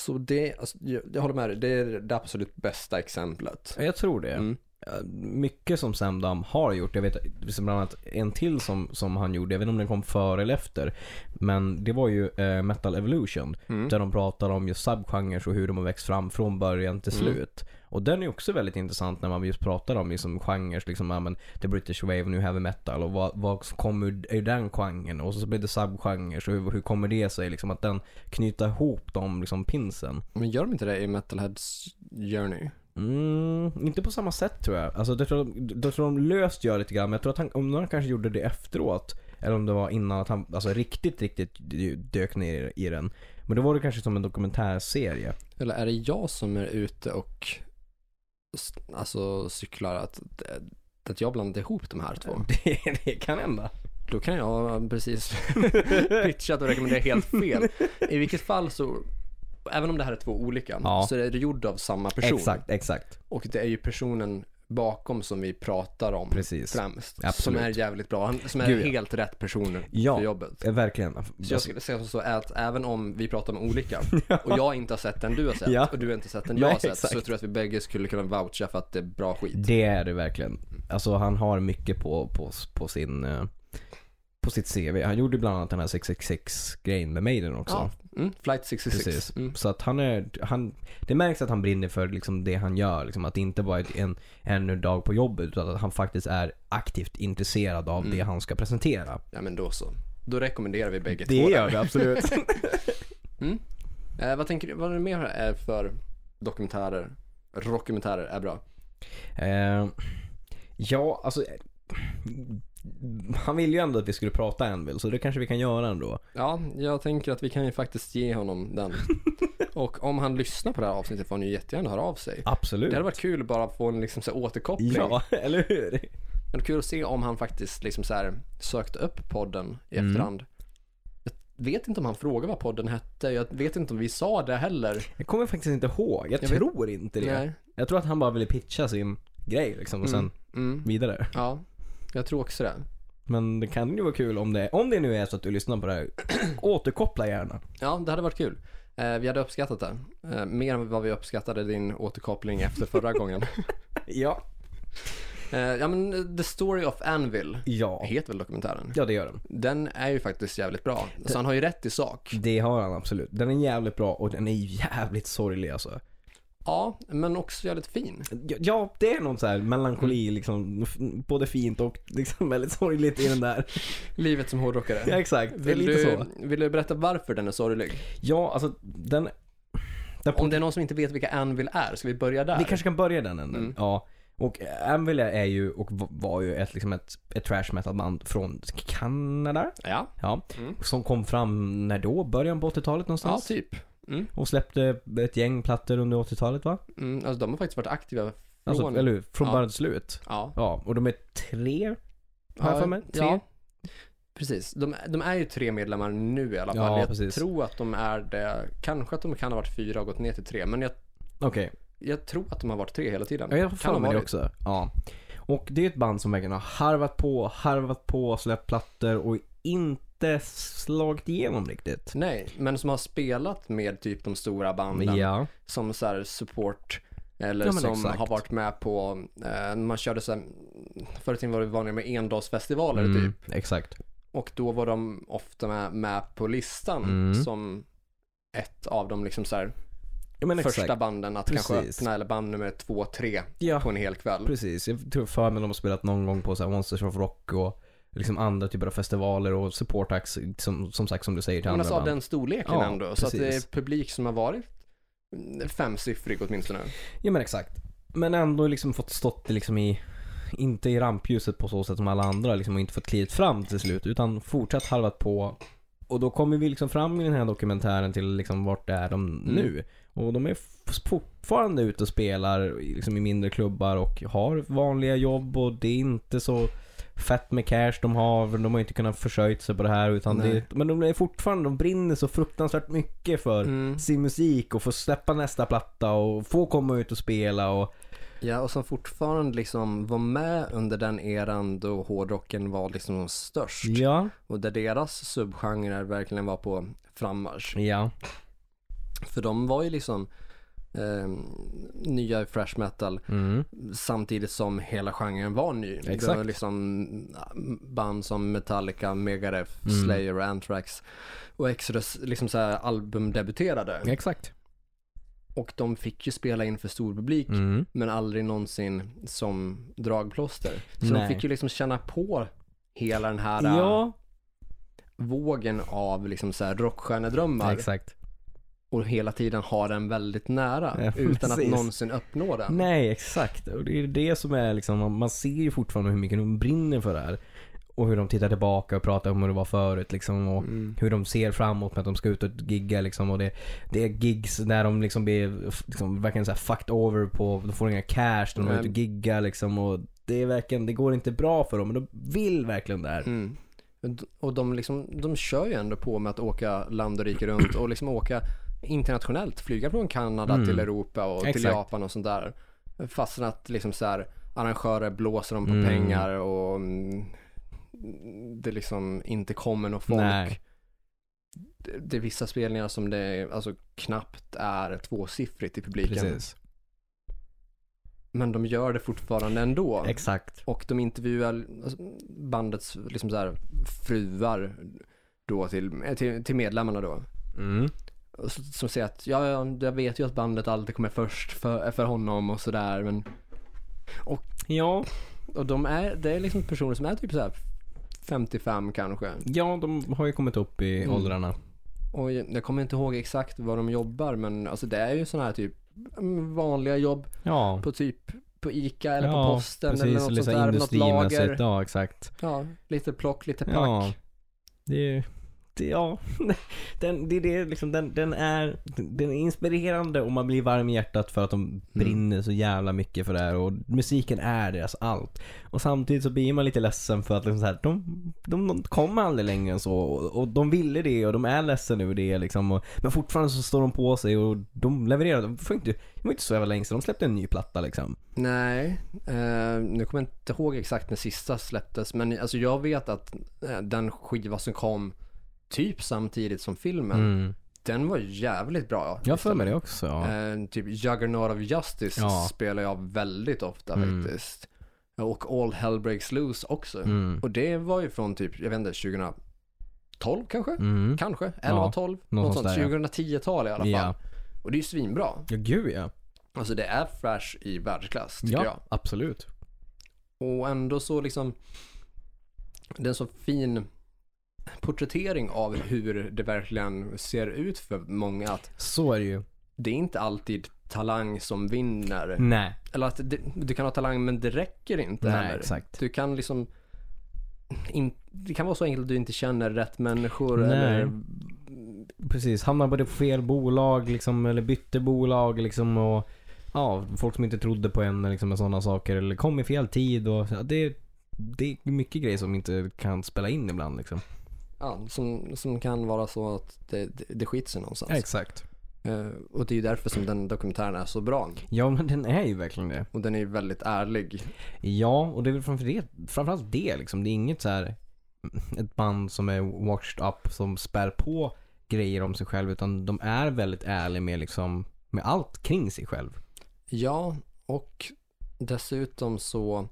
Så det, alltså, jag, jag håller med dig, det är det absolut bästa exemplet.
Ja, Jag tror det.
Mm.
Eh, Mycket som Sam Dam har gjort. Jag vet som bland annat en till som, som han gjorde. Jag vet inte om den kom före eller efter. Men det var ju eh, Metal Evolution.
Mm.
Där de pratar om just subgenres och hur de har växt fram från början till
Mm.
slut. Och den är också väldigt intressant när man just pratar om liksom genrer, liksom ja, men, the British wave, nu heavy metal och vad, vad som kommer ur- ur den genren och så blir det subgenres och hur, hur kommer det sig liksom att den knyter ihop de liksom pinsen.
Men gör de inte det i Metalheads Journey?
Mm, inte på samma sätt tror jag. Alltså, jag, tror de, jag tror de löst gör lite grann men jag tror att han, om någon kanske gjorde det efteråt eller om det var innan att han alltså, riktigt, riktigt dök ner i den. Men då var det kanske som en dokumentärserie.
Eller är det jag som är ute och s- alltså, cyklar att, att jag blandade ihop de här två?
Det, det kan hända.
Då kan jag precis pitchat och rekommenderat helt fel. I vilket fall så, även om det här är två olika,
Ja.
så är det gjort av samma person.
Exakt, exakt.
Och det är ju personen bakom som vi pratar om
Precis.
främst. Som
Absolut.
är jävligt bra, Han- som är
Gud, ja.
helt rätt personer
Ja.
för jobbet.
Eh, Verkligen.
Så jag skulle säga så att även om vi pratar om olika och jag inte har sett den du har sett
Ja.
och du inte sett den jag
Nej,
har sett
exakt.
så tror jag att vi bägge skulle kunna voucha för att det är bra skit.
Det är det verkligen. Alltså han har mycket på, på, på sin eh, på sitt CV. Han gjorde bland annat den här 666-grejen med Maiden också.
Ja. Mm, Flight 66.
Precis.
Mm.
Så att han är, han, det märks att han brinner för liksom det han gör. Liksom att det inte bara är en, en dag på jobbet utan att han faktiskt är aktivt intresserad av det han ska presentera.
Ja men då så. Då rekommenderar vi bägge
Det
två.
gör vi absolut.
Eh, vad tänker du, vad är det mer är för dokumentärer, rockumentärer är bra?
Eh, ja, alltså. eh, Han ville ju ändå att vi skulle prata Anvil, så det kanske vi kan göra ändå.
Ja, jag tänker att vi kan ju faktiskt ge honom den. Och om han lyssnar på det här avsnittet får han ju jättegärna höra av sig.
Absolut.
Det hade varit kul bara att få en liksom så här återkoppling.
Ja, eller hur?
Men det är kul att se om han faktiskt liksom så här sökte upp podden i
Mm.
efterhand. Jag vet inte om han frågade vad podden hette. Jag vet inte om vi sa det heller.
Jag kommer faktiskt inte ihåg. Jag,
Jag vet-
tror inte det.
Nej.
Jag tror att han bara ville pitcha sin grej liksom och sen
Mm.
vidare.
Ja, jag tror också det.
Men det kan ju vara kul om det, om det nu är så att du lyssnar på det här. återkoppla gärna.
Ja, det hade varit kul. Eh, vi hade uppskattat det. Eh, mer än vad vi uppskattade din återkoppling efter förra gången.
Ja.
Eh, ja, men eh, The Story of Anvil
Ja.
heter väl dokumentären.
Ja, det gör den.
Den är ju faktiskt jävligt bra. Så han har ju rätt i sak.
Det har han absolut. Den är jävligt bra och den är jävligt sorglig alltså.
Ja, men också jävligt fin.
Ja, Ja, det är någon så här
Mm.
melankoli liksom. f- Både fint och liksom väldigt sorgligt i den där.
Livet som hårdrockare.
Ja, exakt. Det är
Vill
lite
du,
så.
vill du berätta varför den är sorglig?
Ja, alltså den... den
Om det är någon som inte vet vilka Anvil är, ska vi börja där?
Vi kanske kan börja den änden.
Mm.
Ja. Och Anvil är ju och v- var ju ett, liksom ett, ett trash metal band från Kanada.
Ja,
Ja.
Mm.
Som kom fram när då? Början på 80-talet
ja
någonstans?
typ. Mm.
Och släppte ett gäng plattor under 80-talet va?
Mm, alltså de har faktiskt varit aktiva från...
Alltså, eller hur? Från
ja.
början till slut.
Ja.
Ja, och de är tre Har jag för mig? Tre?
Ja. Precis. De, de är ju tre medlemmar nu i alla fall.
Ja,
jag
precis.
tror att de är det. Kanske att de kan ha varit fyra och gått ner till tre. Men jag,
Okej,
jag tror att de har varit tre hela tiden.
ja, jag har
kan
för
ha
mig det
varit.
också. Ja. Och det är ett band som verkligen har harvat på, harvat på, släppt plattor och inte slagit igenom riktigt.
Nej, men som har spelat med typ de stora banden.
Ja,
Som så här support. Eller
Ja, men
som
exakt.
har varit med på, eh, när man körde så här, förr i tiden var det vanliga med endagsfestivaler typ.
Mm, exakt. Mm.
Och då var de ofta med, med på listan som ett av dem liksom så här,
Ja, men
första
exakt.
banden att kanske
Precis.
öppna eller band nummer två, tre
Ja.
på en hel kväll.
Precis, jag tror för mig de har spelat någon gång på så här Monsters of Rock och liksom andra typer av festivaler och supportacts som, som sagt som du säger till
Men
andra
alltså av
band.
den storleken
Ja,
ändå. Så att det är
precis.
publik som har varit mm, femsiffrig åtminstone.
Ja men exakt. Men ändå liksom fått stått liksom i, inte i rampljuset på så sätt som alla andra liksom och inte fått klivit fram till slut utan fortsatt halvat på. Och då kommer vi liksom fram i den här dokumentären till liksom vart är de nu. Och de är f- fortfarande ute och spelar i- liksom i mindre klubbar och har vanliga jobb och det är inte så fett med cash de har. för De har inte kunnat försörjt sig på det här utan
Nej.
det, men de är fortfarande, de brinner så fruktansvärt mycket för
Mm.
sin musik och få släppa nästa platta och få komma ut och spela och
Ja, och som fortfarande liksom var med under den eran då hårdrocken var liksom som störst.
Ja,
Och där deras subgenrer verkligen var på frammarsch.
ja,
För de var ju liksom eh, nya i fresh metal
mm.
samtidigt som hela genren var ny. Det var
Exakt.
liksom band som Metallica, Megadeth,
Mm.
Slayer, Anthrax och Exodus liksom så här albumdebuterade.
exakt.
Och de fick ju spela inför stor publik
Mm.
men aldrig någonsin som dragplåster. Så
Nej.
de fick ju liksom känna på hela den här eh,
Ja,
vågen av liksom så här rockstjärnedrömmar
exakt.
och hela tiden ha den väldigt nära
Ja,
utan att
precis.
någonsin uppnå den.
Nej, exakt. Och det är det som är liksom, man- man ser ju fortfarande hur mycket de brinner för det här. Och hur de tittar tillbaka och pratar om hur det var förut liksom och
Mm.
hur de ser framåt med att de ska ut och gigga liksom och det, det är gigs där de liksom blir f- liksom, verkligen såhär fucked over på, de får inga cash, de är
Nej.
ute och giggar liksom och det är verkligen, det går inte bra för dem men de vill verkligen det här.
Mm. Och de, liksom, de kör ju ändå på med att åka land och rike runt och liksom åka internationellt. Flyga från Kanada
Mm.
till Europa och till
Exakt.
Japan och sånt där. Fastän att liksom så här, arrangörer blåser dem på
Mm.
pengar och mm, det liksom inte kommer någon folk.
Nej.
Det, det är vissa spelningar som det alltså, knappt är tvåsiffrigt i publiken.
Precis.
Men de gör det fortfarande ändå.
Exakt.
Och de intervjuar alltså, bandets liksom så här, fruar då till, eh, till, till medlemmarna då.
Mm.
Och s- Som säger att ja, ja, jag vet ju att bandet alltid kommer först för, för honom och sådär. Men
Ja,
och de är, det är liksom personer som är typ så här 55 kanske.
ja, de har ju kommit upp i
Mm.
åldrarna.
Och jag jag kommer inte ihåg exakt vad de jobbar men alltså det är ju sådana här typ mm, vanliga jobb
Ja,
på typ på ICA eller
ja,
på posten
precis,
eller något sånt
lite
där. Något
industrimässigt.
lager.
Ja, exakt.
Ja, lite plock, lite pack.
Ja. Det är ju- det, ja. Den, det, är det, liksom, den, den, är, den är inspirerande och man blir varm i hjärtat för att de brinner så jävla mycket för det här och musiken är deras allt. Och samtidigt så blir man lite ledsen för att liksom så här, de, de, de kommer aldrig längre än så och, och de ville det och de är ledsna över det liksom. Och, men fortfarande så står de på sig och de levererar. De får inte, det var inte så jävla länge sedan de släppte en ny platta liksom.
Nej, eh, nu kommer jag inte ihåg exakt när sista släpptes men alltså jag vet att eh, den skiva som kom typ samtidigt som filmen, den var jävligt bra.
Mm.
Liksom.
Jag har för mig det också. Ja.
Eh, typ Juggernaut of Justice
Ja.
spelar jag väldigt ofta
Mm.
faktiskt. Och All Hell Breaks Loose också.
Mm.
Och det var ju från typ, jag vet inte, 2012 kanske?
Mm.
Kanske? 11,
Ja,
12?
något
Något
sånt
sånt.
där, ja.
2010-tal i alla fall.
Ja.
Och det är ju svinbra.
ja, gud ja.
Alltså det är fresh i världsklass tycker
Ja,
jag.
absolut.
Och ändå så liksom Det är en så fin porträttering av hur det verkligen ser ut för många att
Så är det ju.
det är inte alltid talang som vinner.
Nej.
Eller att det, du kan ha talang men typ. det räcker inte
Mm. Nej,
heller.
exakt.
Du kan liksom in, Det kan vara så enkelt att du inte känner rätt människor
Nej.
eller
Precis, hamnade på det fel bolag liksom, eller bytte bolag liksom och ja, folk som inte trodde på en liksom med sådana saker eller kom i fel tid och ja, det, det är mycket grejer som inte kan spela in ibland liksom.
ja, som, som kan vara så att det, det, det skiter sig någonstans.
Exakt.
Eh, och det är ju därför som den dokumentären är så bra.
Ja men den är ju verkligen det.
Och den är ju väldigt ärlig.
Ja, och det är väl framför det, framförallt det liksom. Det är inget så här ett band som är washed up som spär på grejer om sig själv utan de är väldigt ärliga med liksom med allt kring sig själv.
Ja, och dessutom så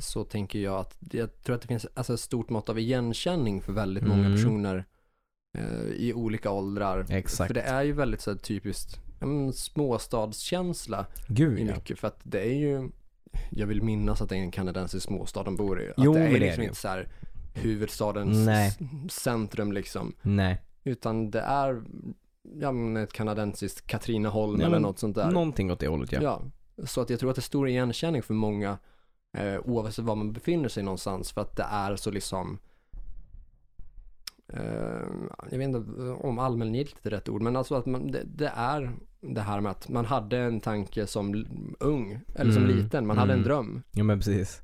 så tänker jag att jag tror att det finns alltså, ett stort mått av igenkänning för väldigt många
Mm.
personer eh, i olika åldrar.
Exakt.
För det är ju väldigt så här, typiskt ja, men, småstadskänsla i
Gud ja.
mycket. För att det är ju, jag vill minnas att det är en kanadensisk småstad de bor i. Att
Jo,
det
men
är
det är
liksom
det ju.
inte så här huvudstadens
Nej.
s- centrum liksom.
Nej.
Utan det är ja, men, ett kanadensiskt Katrineholm
Nej,
eller
men
något sånt där.
Någonting åt det hållet ja.
Ja, så att jag tror att det är stor igenkänning för många eh, oavsett var man befinner sig någonstans för att det är så liksom eh, jag vet inte om allmängiltigt är rätt ord, men alltså att man, det, det är det här med att man hade en tanke som l- ung, eller som
Mm,
liten, man hade en
mm.
dröm.
Ja men precis.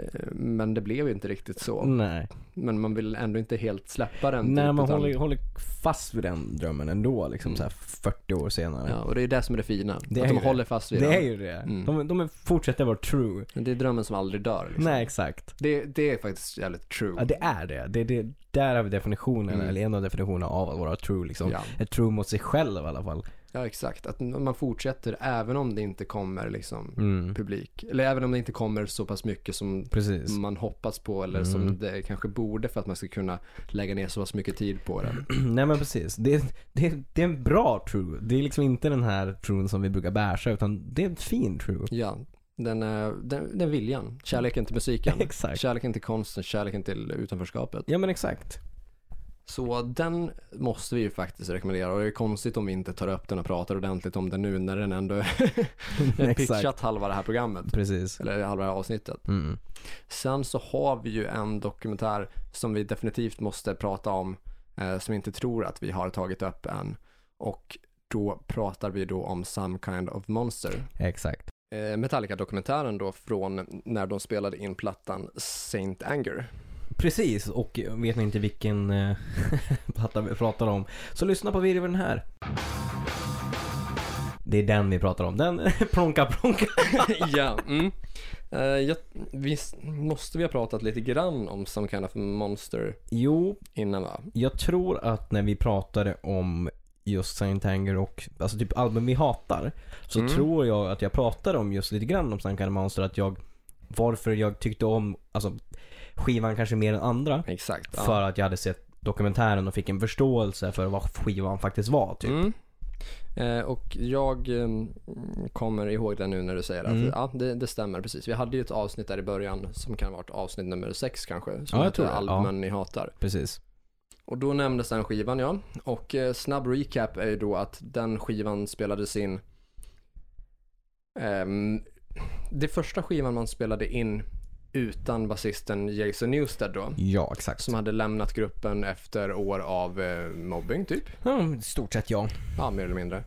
eh, Men det blev ju inte riktigt så.
Nej.
Men man vill ändå inte helt släppa den.
Mm. Nej
typ,
man
utan-
håller, håller fast vid den drömmen ändå liksom så här 40 år senare.
Ja, och det är ju det som är det fina.
Det är
att de
ju det.
håller fast vid
Det är
den.
ju det.
Mm.
De, de är- fortsätter vara true.
Det är drömmen som aldrig dör. Liksom.
Nej exakt.
Det, det är faktiskt jävligt true.
Ja, det är det. det, det där har vi definitionen,
Mm.
eller en av definitionerna av att vara true liksom.
Ja.
Är true mot sig själv i alla fall.
Ja, exakt. Att man fortsätter även om det inte kommer liksom
Mm.
publik. Eller även om det inte kommer så pass mycket som
Precis. Mm.
man hoppas på eller som det kanske borde för att man ska kunna lägga ner så pass mycket tid på det.
Nej men precis. Det, det, det är en bra true. Det är liksom inte den här truen som vi brukar bärsa utan det är en fin true.
Ja, den, eh, den, den viljan. Kärleken till musiken.
Exakt.
Kärleken till konsten, kärleken till utanförskapet.
Ja men exakt.
Så den måste vi ju faktiskt rekommendera och det är konstigt om vi inte tar upp den och pratar ordentligt om den nu när den ändå är
exakt.
pitchat halva det här programmet.
Precis.
Eller halva det här avsnittet.
Mm.
Sen så har vi ju en dokumentär som vi definitivt måste prata om, eh, som jag inte tror att vi har tagit upp än. Och då pratar vi då om Some Kind of Monster.
Exakt.
Eh, Metallica-dokumentären då från när de spelade in plattan Saint Anger.
Precis och vet ni inte vilken eh, platta vi pratar om så lyssna på virveln här. Det är den vi pratar om. Den plonka plonka.
ja, mm. Eh, jag, visst måste vi ha pratat lite grann om Some Kind of Monster
Jo,
innan va?
jag tror att när vi pratade om just Saint Anger och alltså typ album vi hatar. Så
Mm.
tror jag att jag pratade om just lite grann om Saint Anger Monster att jag varför jag tyckte om alltså skivan kanske mer än andra.
Exakt. ja.
För att jag hade sett dokumentären och fick en förståelse för vad skivan faktiskt var typ.
Mm. Eh, och jag eh, kommer ihåg det nu när du säger det.
Mm.
Att, ja, det, det stämmer precis. Vi hade ju ett avsnitt där i början som kan ha varit avsnitt nummer sex kanske. Som
jag
heter
tror det,
Albumen ni hatar.
Precis.
Och då nämndes den skivan ja. Och eh, snabb recap är ju då att den skivan spelades in. ehm, det första skivan man spelade in utan basisten Jason Newsted då.
Ja, exakt.
Som hade lämnat gruppen efter år av eh, mobbing typ.
Ja, i stort sett ja.
Ja, mer eller mindre.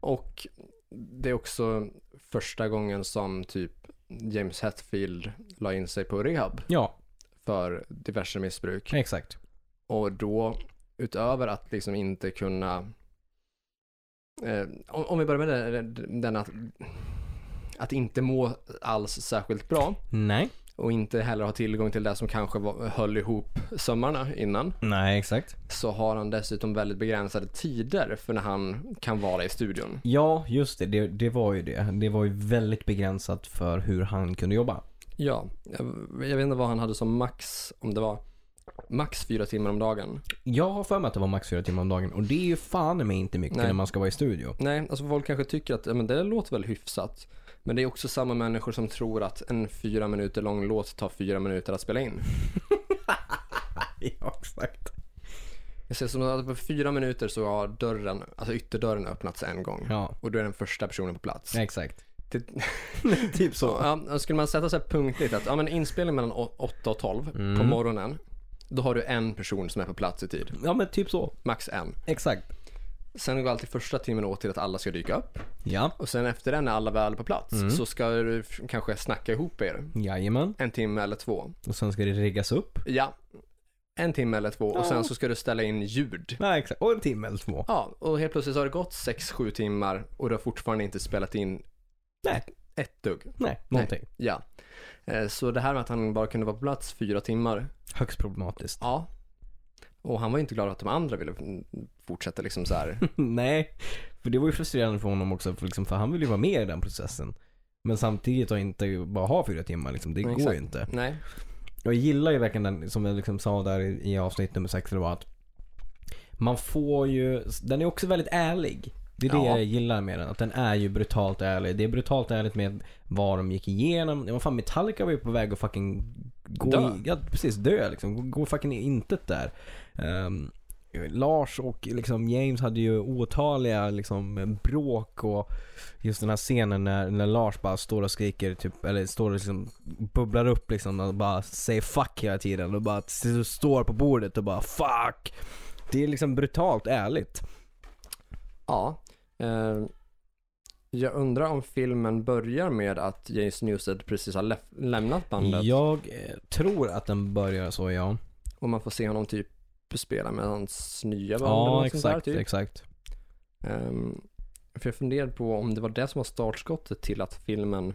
Och det är också första gången som typ James Hetfield la in sig på rehab
Ja,
för diverse missbruk.
exakt.
Och då, utöver att liksom inte kunna... Eh, om, om vi börjar med den, den att, att inte må alls särskilt bra
Nej.
och inte heller ha tillgång till det som kanske var, höll ihop sömmarna innan
Nej, exakt.
så har han dessutom väldigt begränsade tider för när han kan vara i studion.
Ja, just det. det. Det var ju det. Det var ju väldigt begränsat för hur han kunde jobba.
Ja, jag, jag vet inte vad han hade som max, om det var max fyra timmar om dagen.
Jag har för mig att det var max fyra timmar om dagen och det är ju fan mig inte mycket
Nej.
när man ska vara i studio.
Nej, alltså folk kanske tycker att ja, men det låter väl hyfsat. Men det är också samma människor som tror att en fyra minuter lång låt tar fyra minuter att spela in.
Ja, exakt.
Jag ser som att på fyra minuter så har dörren, alltså ytterdörren öppnats en gång.
Ja,
Och du är den första personen på plats.
exakt.
Det,
typ så.
ja, skulle man sätta sig punktligt att ja, men inspelning mellan å- åtta och 12 på
Mm.
morgonen, då har du en person som är på plats i tid.
Ja, men typ så.
Max en.
Exakt.
Sen går alltid första timmen åt till att alla ska dyka upp.
Ja.
Och sen efter den när alla väl är på plats så ska du f- kanske snacka ihop er.
Jajamän.
En timme eller två.
Och sen ska det riggas upp.
Ja, en timme eller två. Och
Ja.
sen så ska du ställa in ljud.
Nej, exakt. Och en timme eller två.
Ja, och helt plötsligt så har det gått sex, sju timmar och du har fortfarande inte spelat in
Nej,
ett dugg.
nej. Någonting.
Ja. Eh, Så det här med att han bara kunde vara på plats fyra timmar.
Högst problematiskt.
Ja. Och han var ju inte glad att de andra ville mm, fortsätta liksom så här.
Nej, för det var ju frustrerande för honom också, för, liksom, för han ville ju vara med i den processen. Men samtidigt att inte bara ha fyra timmar, liksom, det
Nej,
går ju
exakt.
inte.
Nej.
Jag gillar ju verkligen den, som jag liksom sa där i i avsnitt nummer sex, det var att Man får ju, den är också väldigt ärlig. Det är det
Ja.
jag eh, gillar med den. Att den är ju brutalt ärlig. Det är brutalt ärligt med vad de gick igenom. Ja, vad fan, Metallica var ju på väg att fucking gå
Dö.
I, ja, precis, dö liksom. Gå, gå fucking i intet där. Ehm, Lars och liksom James hade ju otaliga liksom bråk och just den här scenen när, när Lars bara står och skriker typ, eller står och liksom bubblar upp liksom och bara säger 'fuck' hela tiden och bara s- står på bordet och bara 'fuck' Det är liksom brutalt ärligt.
Ja. Eh, jag undrar om filmen börjar med att James Newsted precis har läf- lämnat bandet
Jag eh, tror att den börjar så ja.
och man får se honom typ spela med hans nya band eller
Ja
något sånt där,
exakt,
typ.
exakt.
Ehm, för jag funderade på om det var det som var startskottet till att filmen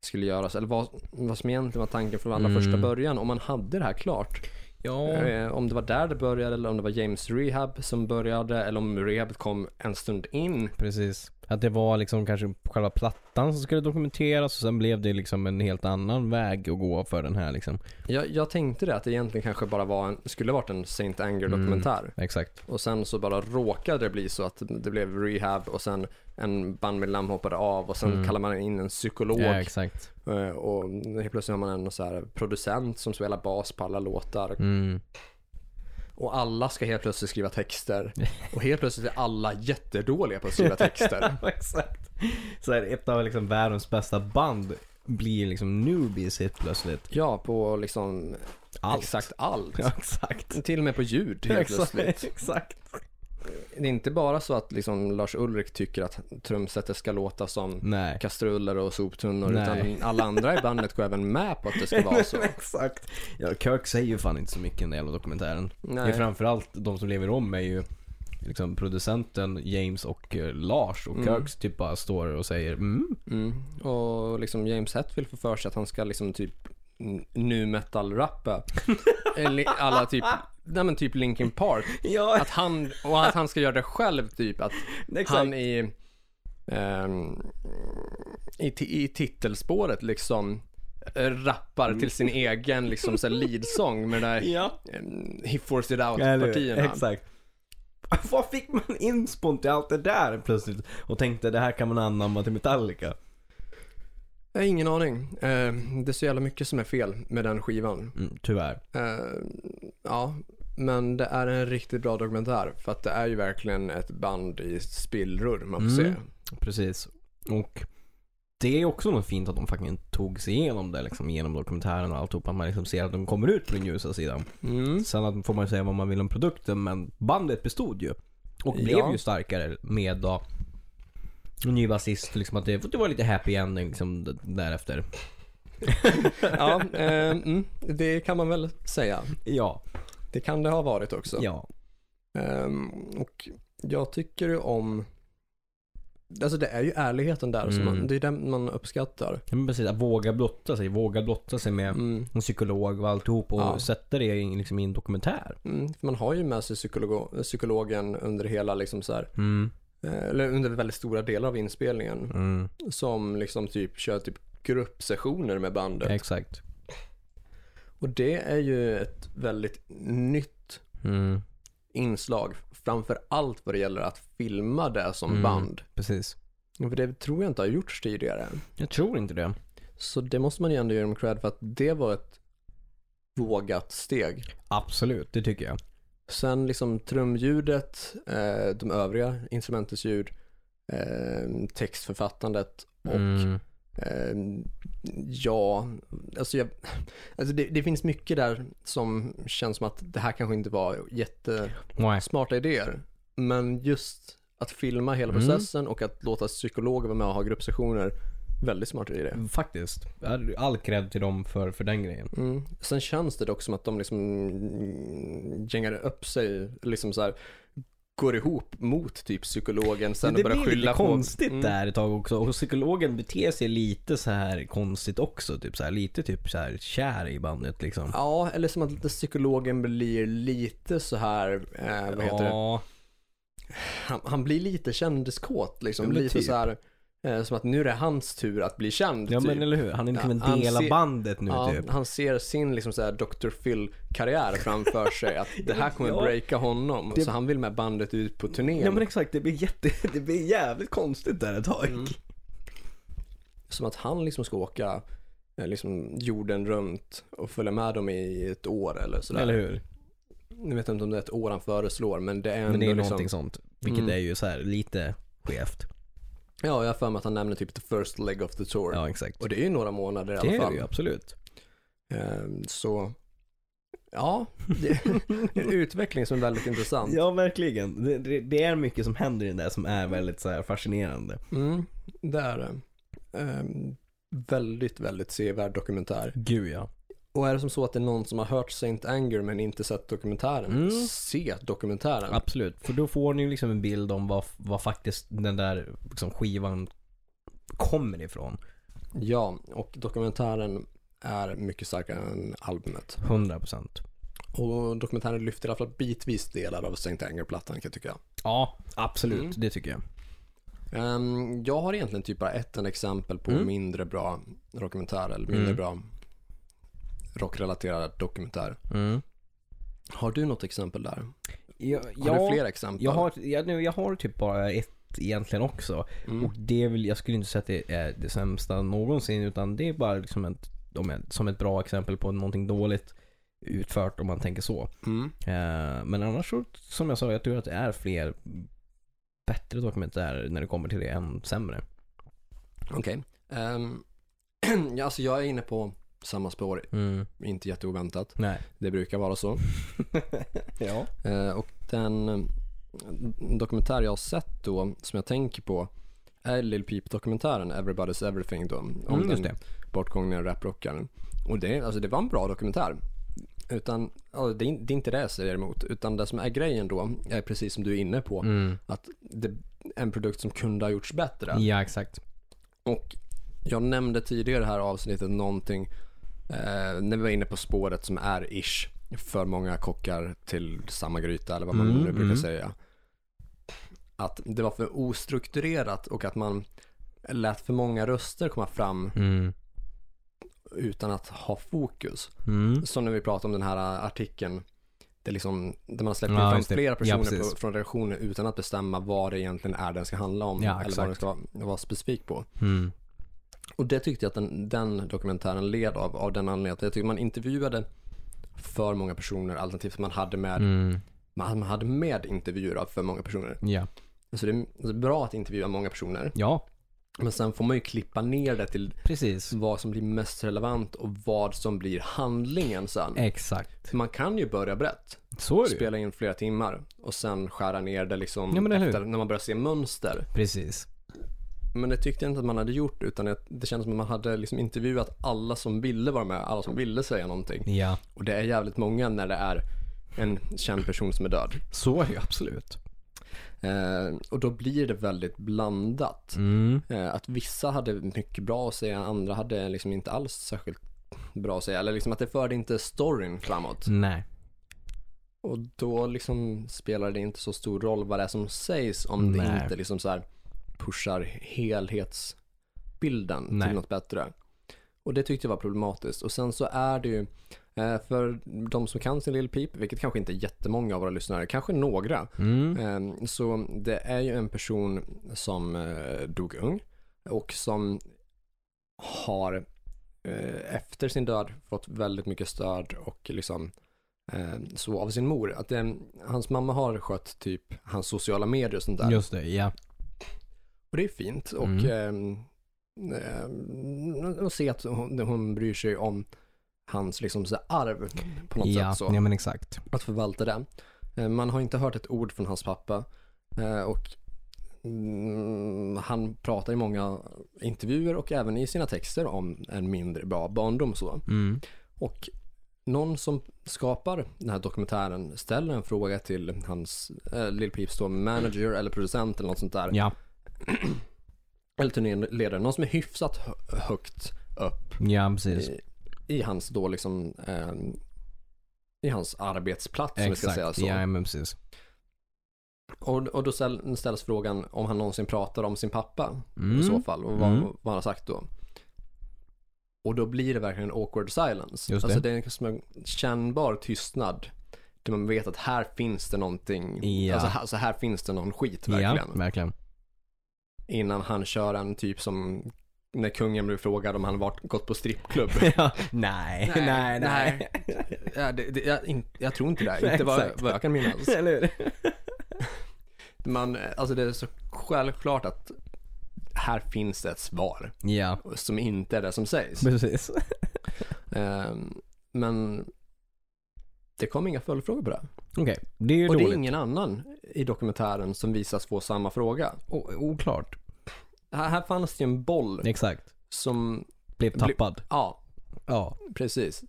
skulle göras, eller vad, vad som egentligen var tanken från allra
Mm.
första början, om man hade det här klart.
Ja,
Eh, om det var där det började, eller om det var James Rehab som började, eller om rehabet kom en stund in.
precis. Att det var liksom kanske själva plattan som skulle dokumenteras och sen blev det liksom en helt annan väg att gå för den här liksom.
Jag, jag tänkte det, att det egentligen kanske bara var en, skulle varit en Saint Anger-dokumentär.
Mm. Exakt.
Och sen så bara råkade det bli så att det blev rehab och sen en bandmedlem hoppade av och sen
Mm.
kallar man in en psykolog
Ja, exakt.
Eh, Och helt plötsligt har man en så här producent som spelar bas på alla låtar.
Mm.
Och alla ska helt plötsligt skriva texter. Och helt plötsligt är alla jättedåliga på att skriva texter.
exakt. Så här, ett av liksom världens bästa band blir liksom newbies helt plötsligt.
Ja, på liksom
Allt.
exakt allt.
Ja, exakt.
Till och med på ljud helt plötsligt.
exakt.
Det är inte bara så att liksom Lars Ulrik tycker att trumsetet ska låta som
Nej.
kastruller och soptunnor.
Nej.
Utan alla andra i bandet går även med på att det ska vara så.
exakt. Ja, Kirk säger ju fan inte så mycket i den där jävla dokumentären.
Nej.
Det är framförallt de som lever om är ju liksom producenten James och eh, Lars och
Mm.
Kirks typ bara står och säger mm.
Mm. Och liksom James Hetfield får för sig att han ska liksom typ n- nu metal-rappa. Eller alla typ, nej men typ Linkin Park.
Ja,
Att han, och att han ska göra det själv typ. Att han i, ehm, i, ti- i titelspåret liksom eh, rappar till sin egen liksom så här leadsång med det där
Mm. Ja.
ehm, He forced it out-partierna.
Exakt. Vad fick man in i allt det där plötsligt? Och tänkte det här kan man anamma till Metallica.
Jag har ingen aning. Eh, det är så jävla mycket som är fel med den skivan.
Mm, tyvärr.
Eh, ja, men det är en riktigt bra dokumentär för att det är ju verkligen ett band i spillror man får
Mm.
se.
Precis. Och det är också något fint att de fucking tog sig igenom det liksom genom dokumentären och alltihop. Att man liksom ser att de kommer ut på den ljusa sidan.
Mm.
Sen att, får man ju säga vad man vill om produkten men bandet bestod ju. Och blev
Ja.
ju starkare med då en ny basist. Liksom att det, det var lite happy ending liksom d- därefter.
Ja, eh, mm, det kan man väl säga.
Ja.
Det kan det ha varit också.
Ja.
Ehm, och jag tycker ju om, alltså det är ju ärligheten där, som
Mm.
man, det är den man uppskattar.
Ja, Men precis, att våga blotta sig. Våga blotta sig med
Mm.
en psykolog och alltihop och
Ja.
sätta det i, liksom, i en dokumentär.
Mm. för Man har ju med sig psykologo- psykologen under hela, liksom så här,
Mm.
eh, eller under väldigt stora delar av inspelningen.
Mm.
Som liksom typ kör typ gruppsessioner med bandet.
Exakt.
Och det är ju ett väldigt nytt
Mm.
inslag, framför allt vad det gäller att filma det som
Mm.
band.
Precis.
För det tror jag inte har gjorts tidigare.
Jag tror inte det.
Så det måste man ju ändå ge dem cred för att det var ett vågat steg.
Absolut, det tycker jag.
Sen liksom trumljudet, eh, de övriga instrumentens ljud, eh, textförfattandet och
Mm.
Eh, ja, alltså, jag, alltså det, det finns mycket där som känns som att det här kanske inte var jättesmarta
Nej.
idéer. Men just att filma hela
Mm.
processen och att låta psykologer vara med och ha gruppsessioner, väldigt smart idé.
Faktiskt. All cred till dem för, för den grejen.
Mm. Sen känns det dock som att de liksom mm, gängade upp sig, liksom så här går ihop mot typ psykologen sen
det
och börjar
blir
skylla
lite
på...
konstigt
Mm.
där ett tag också. Och psykologen beter sig lite så här konstigt också. Typ så här, lite typ så här kär i bandet liksom.
Ja, eller som att psykologen blir lite så här, eh, vad heter det?
ja,
han, han blir lite kändiskåt liksom.
Ja, men
Lite
typ.
så här, Eh, Som att nu är det hans tur att bli känd.
Ja
typ.
men eller hur, han är inte
Ja,
en
han
del av
ser-
bandet nu
ja,
typ.
Han ser sin liksom så här Dr. Phil-karriär framför sig. Att det här kommer
Ja.
breaka honom.
Det-
Så han vill med bandet ut på turnén.
Ja men exakt, det blir, jätte, det blir jävligt konstigt där ett tag.
Mm. Som att han liksom ska åka eh, liksom jorden runt och följa med dem i ett år eller sådär.
Eller hur?
Nu vet jag inte om det är ett år han föreslår men det är ändå
Men det är
liksom.
någonting sånt. Vilket
Mm.
är ju så här lite skevt.
Ja, jag har för mig att han nämner typ the first leg of the tour.
Ja exakt.
Och det är ju några månader i alla
Det är
fall.
det ju absolut.
Ehm, Så, ja, det en utveckling som är väldigt intressant.
Ja verkligen. Det, det, det är mycket som händer i det där som är väldigt så här fascinerande.
Mm, det är det. Ehm, väldigt, väldigt sevärd dokumentär.
Gud ja.
Och är det som så att det är någon som har hört Saint Anger men inte sett dokumentären,
Mm.
se dokumentären.
Absolut. För då får ni ju liksom en bild om vad, vad faktiskt den där liksom skivan kommer ifrån.
Ja, och dokumentären är mycket starkare än albumet.
100%.
Och dokumentären lyfter i alla fall bitvis delar av Saint Anger-plattan kan jag tycka.
Ja, absolut.
Mm.
Det tycker jag.
Ehm, jag har egentligen typ bara ett enda exempel på
Mm.
mindre bra dokumentär eller mindre
Mm.
bra rockrelaterad dokumentär.
Mm.
Har du något exempel där?
Jag,
Har du flera exempel?
jag har, jag, nu, jag har typ bara ett egentligen också.
Mm.
Och det är väl, jag skulle inte säga att det är det sämsta någonsin utan det är bara liksom ett, om ett, som ett bra exempel på någonting dåligt utfört om man tänker så.
Mm.
Eh, Men annars så, som jag sa, jag tror att det är fler bättre dokumentärer när det kommer till det än sämre.
Okej. Ehm, ja, alltså jag är inne på samma spår, inte jätteoväntat.
Mm. Nej.
Det brukar vara så.
ja.
Eh, och den eh, dokumentär jag har sett då, som jag tänker på, är Lil Peep-dokumentären Everybody's Everything då. Om
Mm, just
den bortgångna raprockaren. Och det, alltså det var en bra dokumentär. Utan, ja, det, är in- det är inte det jag säger emot, utan det som är grejen då, är precis som du är inne på,
Mm.
att det är en produkt som kunde ha gjorts bättre.
Ja, exakt.
Och jag nämnde tidigare i det här avsnittet någonting eh, när vi var inne på spåret som är ish för många kockar till samma gryta eller vad man
Mm,
nu brukar
mm.
säga. Att det var för ostrukturerat och att man lät för många röster komma fram
Mm.
utan att ha fokus.
Mm.
Som när vi pratade om den här äh, artikeln där, liksom, där man släpper
Ja,
fram
just det.
flera
Ja,
personer
precis.
på, från redaktionen utan att bestämma vad det egentligen är den ska handla om
Ja,
eller vad
exakt.
den ska vara- vara specifik på.
Mm.
Och det tyckte jag att den, den dokumentären led av, av den anledningen att jag tyckte man intervjuade för många personer alternativt man hade med,
Mm.
man hade med intervjuer av för många personer.
Ja.
Så det är alltså bra att intervjua många personer,
ja,
men sen får man ju klippa ner det till
precis.
vad som blir mest relevant och vad som blir handlingen sen.
Exakt.
För man kan ju börja brett,
Så är det ju.
spela in flera timmar och sen skära ner det liksom
Ja, men eller hur?
efter, när man börjar se mönster.
Precis.
Men det tyckte jag inte att man hade gjort utan att det kändes som att man hade liksom intervjuat alla som ville vara med, alla som ville säga någonting.
Ja.
Och det är jävligt många när det är en känd person som är död.
Så är det ju absolut.
Eh, och då blir det väldigt blandat.
Mm.
Eh, att vissa hade mycket bra att säga, andra hade liksom inte alls särskilt bra att säga. Eller liksom att det förde inte storyn framåt.
Nej.
Och då liksom spelar det inte så stor roll vad det är som sägs om
Nej.
det inte liksom så här pushar helhetsbilden
Nej.
till något bättre. Och det tyckte jag var problematiskt. Och sen så är det ju, eh, för de som kan sin Lil Peep, vilket kanske inte är jättemånga av våra lyssnare, kanske några,
Mm.
eh, så det är ju en person som eh, dog ung och som har eh, efter sin död fått väldigt mycket stöd och liksom eh, så av sin mor. Att eh, hans mamma har skött typ hans sociala medier och sånt där.
Just det, ja. Mm.
Och det är fint och ehm, ehm, att se att hon, hon bryr sig om hans liksom så här arv på något
Ja.
sätt så.
ja, men exakt.
Att förvalta det. Eh, Man har inte hört ett ord från hans pappa eh, och mm, han pratar i många intervjuer och även i sina texter om en mindre bra barndom så.
Mm.
Och någon som skapar den här dokumentären ställer en fråga till hans äh, Lill Peeps då, manager eller producent eller något sånt där.
Ja.
Eller turnéledare. Någon som är hyfsat hö- högt upp
Ja, precis.
i, i hans då liksom eh, i hans arbetsplats om vi ska säga så.
Ja, men precis.
Och, och då ställ, ställs frågan om han någonsin pratar om sin pappa i så fall och vad,
Mm.
vad han har sagt då. Och då blir det verkligen en awkward silence.
Just det.
Alltså det är som en kännbar tystnad. Där man vet att här finns det någonting,
Ja.
alltså, här- alltså här finns det någon skit
Ja,
verkligen.
verkligen.
Innan han kör en typ som när kungen blev frågad om han varit, gått på strippklubb.
Ja, nej, nej, nej.
ja, det, det, jag, in, jag tror inte det,
Nej,
inte vad,
exakt.
vad jag kan minnas.
Eller hur?
Man, alltså det är så självklart att här finns det ett svar
Ja,
som inte är det som sägs.
precis.
Ehm, men det kom inga följdfrågor på det.
Okej, det är ju
Och det är
dåligt.
ingen annan i dokumentären som visas få samma fråga.
O- oklart.
Här, här fanns det ju en boll
Exakt.
som,
Blev tappad.
ja,
Ja.
precis.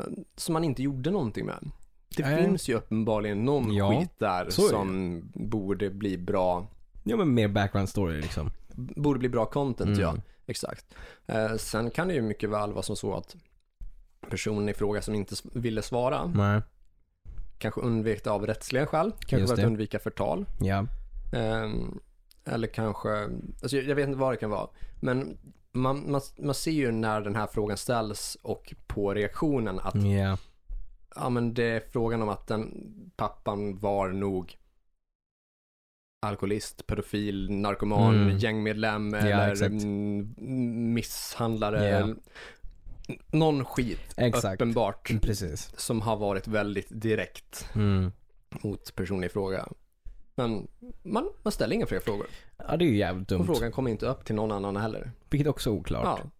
Ehm, Som man inte gjorde någonting med. Det
Nej.
finns ju uppenbarligen någon
Ja,
skit där
så är det
som borde bli bra
Ja men mer background story liksom.
borde bli bra content,
Mm.
ja. Exakt. Eh, sen kan det ju mycket väl vara som så att personen i fråga som inte s- ville svara
Nej.
kanske undvek det av rättsliga skäl. Kanske
Just
för att
det.
undvika förtal.
Ja.
Ehm, eller kanske, alltså jag, jag vet inte vad det kan vara. Men man, man, man ser ju när den här frågan ställs och på reaktionen att
Ja.
ja, men det är frågan om att den pappan var nog alkoholist, pedofil, narkoman,
Mm.
gängmedlem eller
exakt.
mm, misshandlare.
Ja.
eller Någon skit
Exakt. Mm,
uppenbart
Precis.
som har varit väldigt direkt
Mm.
mot personen i fråga. Men man, man ställer inga fler frågor.
Ja det är ju jävligt
Och
dumt.
frågan kommer inte upp till någon annan heller.
Vilket också är oklart.
Ja.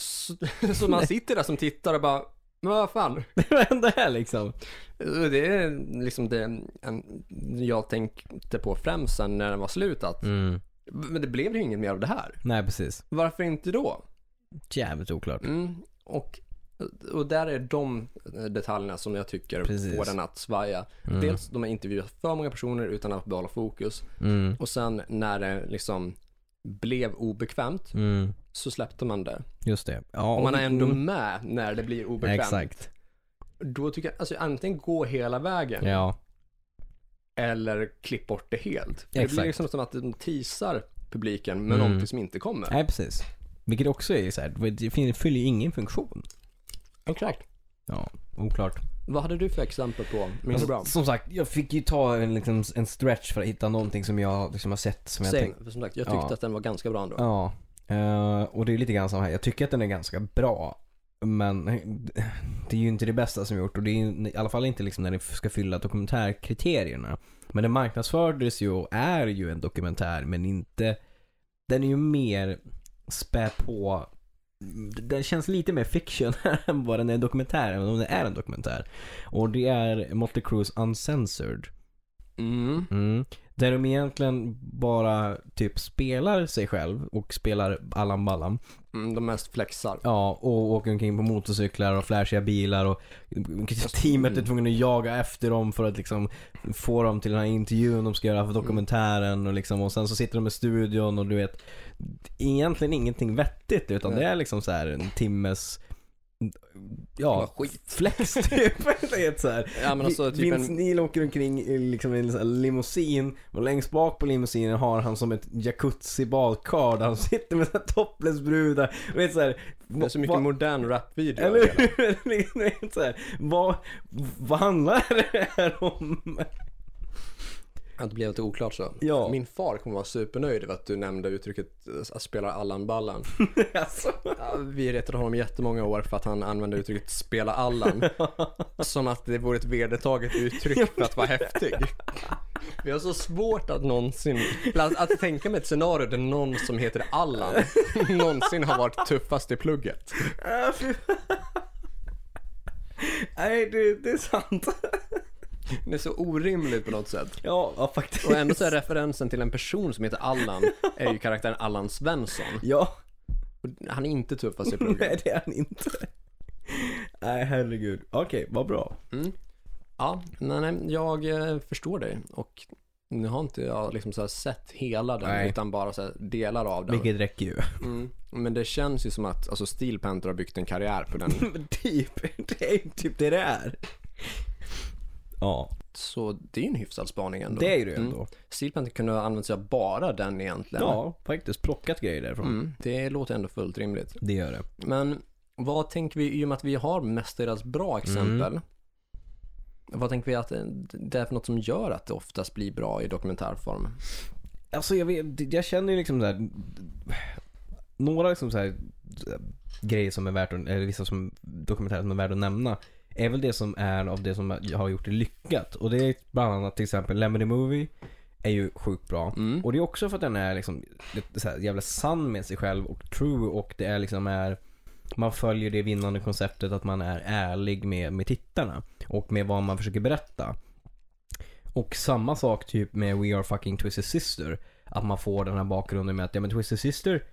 Så, så man sitter där som tittar och bara, men vad fan?
Vad hände här liksom?
Det är liksom det en, jag tänkte på främst sen när den var slut att
Mm.
men det blev ju inget mer av det här.
Nej precis.
Varför inte då?
Jävligt oklart.
Mm, och, och där är de detaljerna som jag tycker
Precis.
får den att svaja.
Mm.
Dels de har intervjuat för många personer utan att behålla fokus
Mm.
och sen när det liksom blev obekvämt
Mm.
så släppte man det.
Just det. Ja.
Och man är ändå
mm.
med när det blir obekvämt.
Exakt.
Då tycker jag, alltså antingen gå hela vägen
Ja.
eller klipp bort det helt. För Det blir
Exakt.
liksom som att de teasar publiken med
Mm.
någonting som inte kommer.
Nej precis. Vilket också är så här, det fin- fyller ju ingen funktion.
Exakt.
Ja, oklart.
Vad hade du för exempel på mindre
Alltså,
bra?
Som sagt, jag fick ju ta en, liksom, en stretch för att hitta någonting som jag liksom, har sett som jag
Same,
tänk-
för som sagt, jag tyckte
Ja.
att den var ganska bra ändå.
Ja. Eh, och det är lite grann som här, jag tycker att den är ganska bra. Men det är ju inte det bästa som jag gjort och det är ju, i alla fall inte liksom när det ska fylla dokumentärkriterierna. Men den marknadsfördes ju och är ju en dokumentär men inte, den är ju mer spä på den känns lite mer fiction än vad den är en dokumentär, även om den är en dokumentär. Och det är Motley Crues Uncensored.
Mm.
Mm. Där de egentligen bara typ spelar sig själv och spelar Allan Ballan.
Mm, de mest flexar.
Ja, och åker omkring på motorcyklar och flashiga bilar och teamet är
Mm.
tvungna att jaga efter dem för att liksom få dem till den här intervjun de ska göra
Mm.
för dokumentären och liksom och sen så sitter de i studion och du vet egentligen ingenting vettigt utan
Nej.
det är liksom så här en timmes
Vad
ja,
skit.
flex typ. Det är så här.
Ja men alltså typ
Vince
en...
Neil åker omkring i liksom en sån här limousin och längst bak på limousinen har han som ett jacuzzi badkar där han sitter med såhär topless-brudar. Och vet såhär,
Det är så mycket
vad-
modern rapvideo.
Eller hur? Liksom, Det är så här, vad, vad handlar det här om?
Att det blev lite oklart så.
Ja.
Min far kommer vara supernöjd över att du nämnde uttrycket eh, att spela Allan Ballan.
Alltså,
Ja, Vi retade honom jättemånga år för att han använde uttrycket spela Allan. som att det vore ett vedertaget uttryck för att vara häftig. Vi har så svårt att någonsin, eller att, att tänka mig ett scenario där någon som heter Allan någonsin har varit tuffast i plugget.
äh, fy- Nej, det, det är sant.
Det är så orimligt på något sätt.
Ja, ja faktiskt.
Och ändå så är referensen till en person som heter Allan är ju karaktären Allan Svensson.
Ja,
Och Han är inte tuffast i plugget.
nej det är han inte. Nej, herregud. Okej, vad bra.
Ja, nej, nej, jag eh, förstår dig. Och nu har inte jag liksom så här sett hela den
Nej.
utan bara så här delar av den.
Vilket räcker ju.
Mm. Men det känns ju som att alltså Steel Panther har byggt en karriär på den.
Men typ, det är ju typ det det är. Ja,
Så det är ju en hyfsad spaning ändå.
det är ju det ändå.
Steelplant kunde ha använt sig av bara den egentligen.
Ja, faktiskt. Plockat grejer därifrån.
Mm, det låter ändå fullt rimligt.
Det gör det.
Men vad tänker vi, i och med att vi har mest deras bra exempel,
Mm.
vad tänker vi att det är för något som gör att det oftast blir bra i dokumentärform?
Alltså jag, vet, jag känner ju liksom så här. Några liksom så här grejer som är värt att, eller vissa som dokumentärer som är värda att nämna. Är väl det som är av det som har gjort det lyckat. Och det är bland annat till exempel Lemony Movie. Är ju sjukt bra.
Mm.
Och det är också för att den är liksom lite så här jävla sann med sig själv och true och det är liksom är man följer det vinnande konceptet att man är ärlig med, med tittarna och med vad man försöker berätta. Och samma sak typ med We Are Fucking Twisted Sister. Att man får den här bakgrunden med att ja men Twisted Sister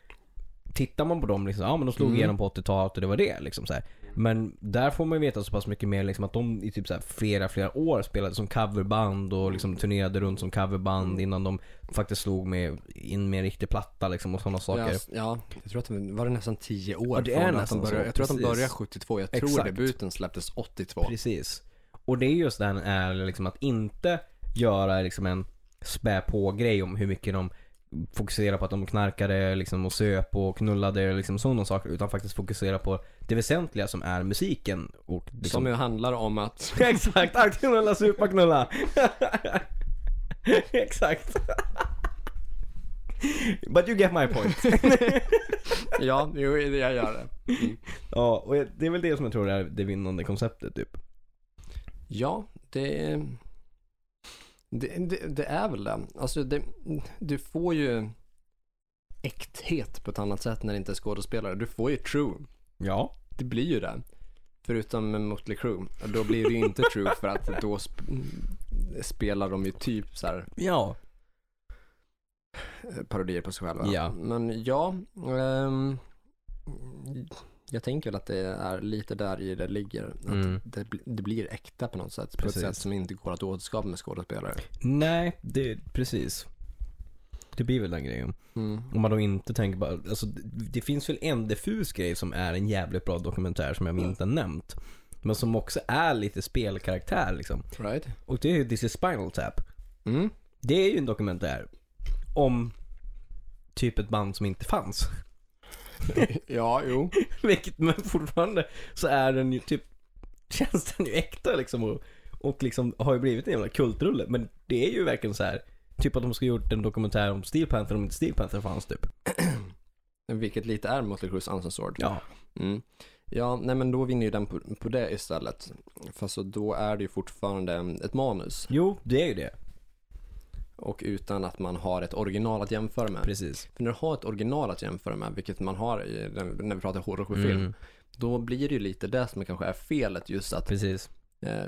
Tittar man på dem liksom, ja men de slog
Mm.
igenom på 80-talet och det var det liksom så här. Men där får man ju veta så pass mycket mer liksom att de i typ så här flera, flera år spelade som coverband och liksom turnerade runt som
Mm.
coverband innan de faktiskt slog med, in med en riktig platta liksom och sådana saker.
Ja, s- ja, jag tror att det var det nästan tio år
Ja, det är
från att de
nästan
började.
så,
Jag tror att de
precis.
började 72. Jag tror
Exakt.
debuten släpptes 82.
Precis. Och det är just den är liksom att inte göra liksom en spä på grej om hur mycket de fokuserar på att de knarkade liksom och söp och knullade liksom sådana saker utan faktiskt fokusera på det väsentliga som är musiken och liksom...
Som ju handlar om att,
Exakt! Aktknulla, supa, knulla! Exakt! But you get my point.
ja, jo, jag gör det.
ja, och det är väl det som jag tror är det vinnande konceptet typ.
Ja, det, det, det, det är väl det. Alltså, det. Du får ju äkthet på ett annat sätt när det inte är skådespelare. Du får ju true.
Ja.
Det blir ju det. Förutom med Motley Crue. Och Då blir det ju inte true för att då sp- spelar de ju typ så här
Ja.
eh, parodier på sig själva.
Ja.
Men ja, ehm, jag tänker väl att det är lite där i det ligger. Att
Mm.
det, bli- det blir äkta på något sätt. På
Precis.
ett sätt som inte går att återskapa med skådespelare.
Nej, det, precis. Det blir väl den grejen.
Mm.
Om man då inte tänker bara, alltså det, det finns väl en diffus grej som är en jävligt bra dokumentär som jag inte har nämnt. Men som också är lite spelkaraktär liksom.
Right?
Och det är ju This is Spinal Tap.
Mm.
Det är ju en dokumentär om typ ett band som inte fanns.
Ja, jo.
Vilket, men fortfarande så är den ju typ, känns den ju äkta liksom och, och liksom har ju blivit en jävla kultrulle. Men det är ju verkligen så här typ att de skulle gjort en dokumentär om Steel Panther om inte Steel Panther fanns typ.
Vilket lite är Motley Crues Unsensord.
Ja.
Mm. Ja, nej men då vinner ju den på, på det istället. Fast så då är det ju fortfarande ett manus.
Jo, det är ju det.
Och utan att man har ett original att jämföra med.
Precis.
För när du har ett original att jämföra med, vilket man har i, när vi pratar horrorfilm,
Mm.
då blir det ju lite det som kanske är felet just att
Precis.
eh,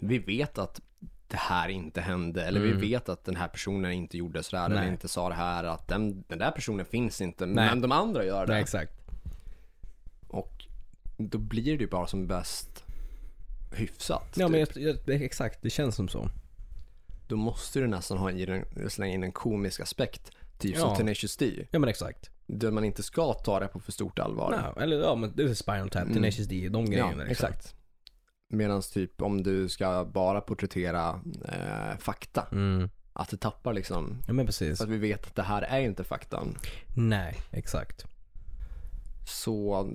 vi vet att det här inte hände eller
Mm.
vi vet att den här personen inte gjorde sådär
Nej.
eller inte sa det här att den, den där personen finns inte
Nej.
men de andra gör det.
Nej, exakt.
Och då blir det ju bara som bäst hyfsat.
Ja, men
typ.
jag, jag, exakt, det känns som så.
Då måste du nästan ha i den, slänga in en komisk aspekt. Typ
Ja.
som Tenacious D.
Ja men exakt.
Där man inte ska ta det på för stort allvar.
Ja, eller ja men det är Spinal Tap,
Mm.
Tenacious D, de grejerna. liksom.
Ja, exakt. Medan typ om du ska bara porträttera eh, fakta.
Mm.
Att det tappar liksom.
Ja men precis.
För att vi vet att det här är ju inte faktan.
Nej, exakt.
Så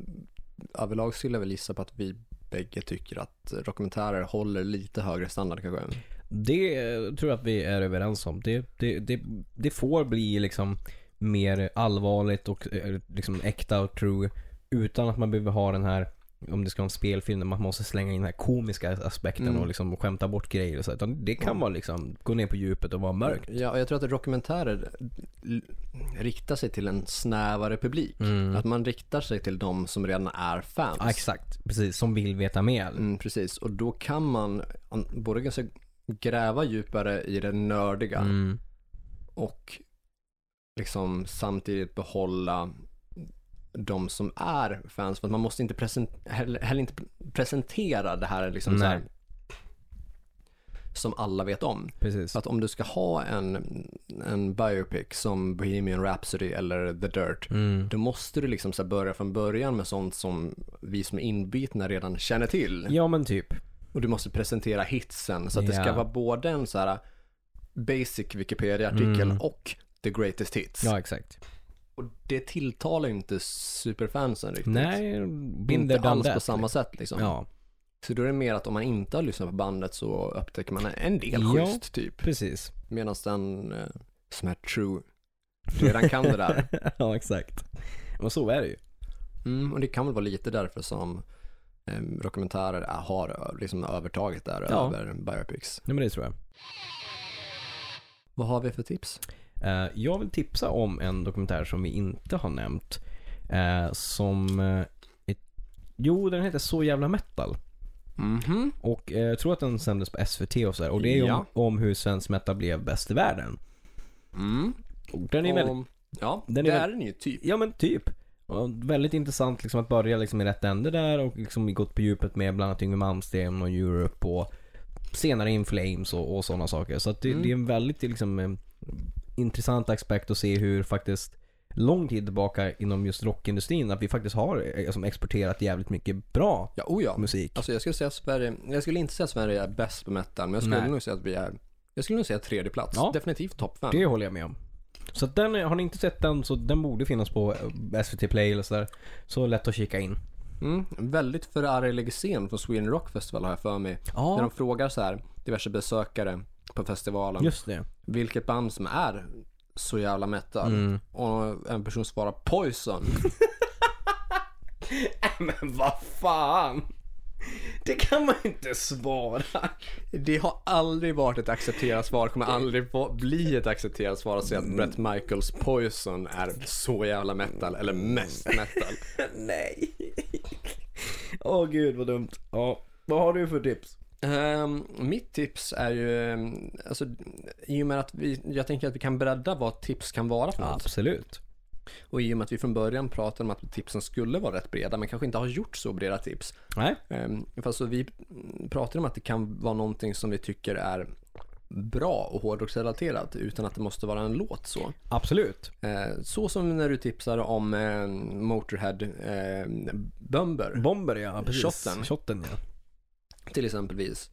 överlag skulle jag väl gissa på att vi bägge tycker att dokumentärer håller lite högre standard kanske.
Det eh, tror jag att vi är överens om. Det, det, det, det får bli liksom mer allvarligt och eh, liksom äkta och true utan att man behöver ha den här om det ska vara en spelfilm där man måste slänga in den här komiska aspekten
Mm.
och liksom skämta bort grejer och så. Utan det kan
Mm.
vara liksom gå ner på djupet och vara mörkt.
Ja, och jag tror att dokumentärer l- riktar sig till en snävare publik.
Mm.
Att man riktar sig till de som redan är fans.
Ja, exakt, precis. Som vill veta mer.
Mm, precis, och då kan man an- både ganska gräva djupare i det nördiga
Mm.
och liksom samtidigt behålla de som är fans. För att man måste inte, presen- heller, heller inte presentera det här liksom
Nej.
så här, som alla vet om.
Precis.
Så att om du ska ha en, en biopic som Bohemian Rhapsody eller The Dirt,
Mm.
då måste du liksom så här börja från början med sånt som vi som är inbitna redan känner till.
Ja men typ.
Och du måste presentera hitsen. Så att det ska
Ja.
vara både en så här basic Wikipedia-artikel
Mm.
och the greatest hits.
Ja, exakt.
Och det tilltalar ju inte superfansen riktigt.
Nej, binder
Inte
done
alls på
that,
samma sätt liksom.
Ja,
Så då är det mer att om man inte har lyssnat på bandet så upptäcker man en del
Ja.
schysst typ.
precis.
Medan den eh, som är true redan kan det där.
ja, exakt. Men så är det ju.
Mm, och det kan väl vara lite därför som eh, dokumentärer är- har ö- liksom övertaget där
Ja.
över biopics.
Nej, men det tror jag.
Vad har vi för tips?
Eh, jag vill tipsa om en dokumentär som vi inte har nämnt. eh, som... eh, ett, jo, den heter Så jävla metal.
Mhm.
Och eh, jag tror att den sändes på SVT och sådär. Och det är ju
Ja.
om, om hur svensk metal blev bäst i världen.
Mm.
Och den är
Och-
väldigt...
Ja,
den är
det
väl-
är den ju typ.
Ja men typ. Och väldigt intressant liksom att börja liksom i rätt ände där och liksom gått på djupet med bland annat Yngwie Malmsteen och Europe och senare In Flames och, och sådana saker. Så att det,
Mm.
det är en väldigt liksom, eh, intressant aspekt att se hur faktiskt lång tid tillbaka inom just rockindustrin att vi faktiskt har eh, som exporterat jävligt mycket bra
Ja, oh ja.
musik.
Alltså jag skulle säga att Sverige, jag skulle inte säga att Sverige är bäst på metal, men jag skulle
Nej.
nog säga att vi är, jag skulle nog säga tredje plats.
Ja.
Definitivt topp fem.
Det håller jag med om. Så att den, eh, har ni inte sett den så den borde finnas på eh, SVT Play eller sådär. Så lätt att kika in.
Mm. Väldigt förarglig scen från Sweden Rock Festival har jag för mig. När de frågar så här diverse besökare på festivalen
just det.
vilket band som är så jävla metal.
Mm.
Och en person svarar Poison.
Men vad fan! Det kan man inte svara.
Det har aldrig varit ett accepterat svar, kommer aldrig få- bli ett accepterat svar att säga att Brett
Mm.
Michaels Poison är så jävla metal, eller mest metal.
Nej. Åh gud vad dumt. Ja, vad har du för tips?
Ehm, mitt tips är ju, ehm, alltså, i och med att vi, jag tänker att vi kan bredda vad tips kan vara för något.
Absolut.
Och i och med att vi från början pratade om att tipsen skulle vara rätt breda, men kanske inte har gjort så breda tips.
Nej.
Ehm, Fast så vi pratar om att det kan vara någonting som vi tycker är bra och hårdrocksrelaterat utan att det måste vara en låt så.
Absolut.
Eh, Så som när du tipsade om eh, Motorhead eh, Bumber
Bomber ja, precis.
Shotten.
Shotten ja.
till exempelvis.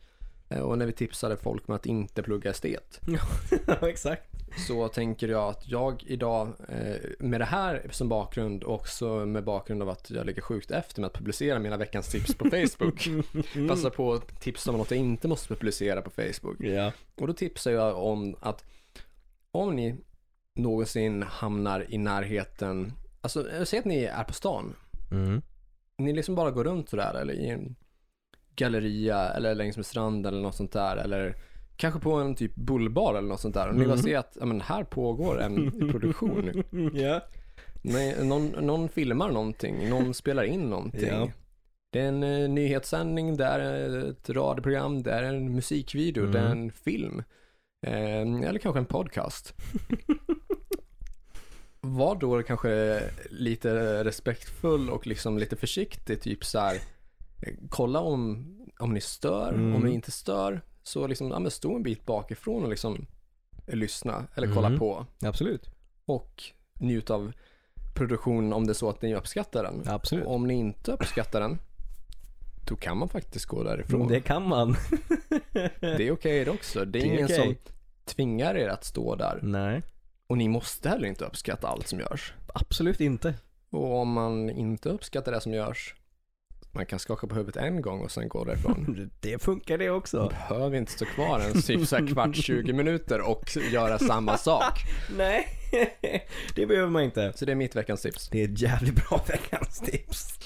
Eh, Och när vi tipsade folk med att inte plugga estet.
ja, exakt.
Så tänker jag att jag idag eh, med det här som bakgrund och också med bakgrund av att jag ligger sjukt efter med att publicera mina veckans tips på Facebook.
Mm.
Passa på att tipsa om något jag inte måste publicera på Facebook.
Ja.
Och då tipsar jag om att om ni någonsin hamnar i närheten, alltså eh, säg att ni är på stan,
Mm.
ni liksom bara går runt sådär eller i en galleria eller längs med stranden eller något sånt där eller kanske på en typ bullbar eller något sånt där och ni bara ser att ja, men här pågår en produktion.
Mm. Ja.
Nej, någon, någon filmar någonting, någon spelar in någonting.
Ja.
Det är en eh, nyhetssändning, det är ett radioprogram, det är en musikvideo, det är
Mm.
en film. Eh, eller kanske en podcast. Var då kanske lite respektfull och liksom lite försiktig, typ så här, eh, kolla om, om ni stör,
Mm.
om ni inte stör, så liksom, ja, men stå en bit bakifrån och liksom eh, lyssna eller kolla
Mm.
på
Absolut.
och njut av produktionen om det är så att ni uppskattar den.
Absolut.
Om ni inte uppskattar den, då kan man faktiskt gå därifrån.
Det
Det,
kan man.
är okej det också. Det är,
Mm, Det är
ingen
okej.
som
Mm.
tvingar er att stå där.
Nej.
Och ni måste heller inte uppskatta allt som görs.
Absolut inte.
Och om man inte uppskattar det som görs, man kan skaka på huvudet en gång och sen gå därifrån.
Det funkar det också.
Behöver inte stå kvar ens typ så här kvart, 20 minuter och göra samma sak.
Nej. Det behöver man inte.
Så det är mitt veckans tips.
Det är ett jävligt bra veckans tips.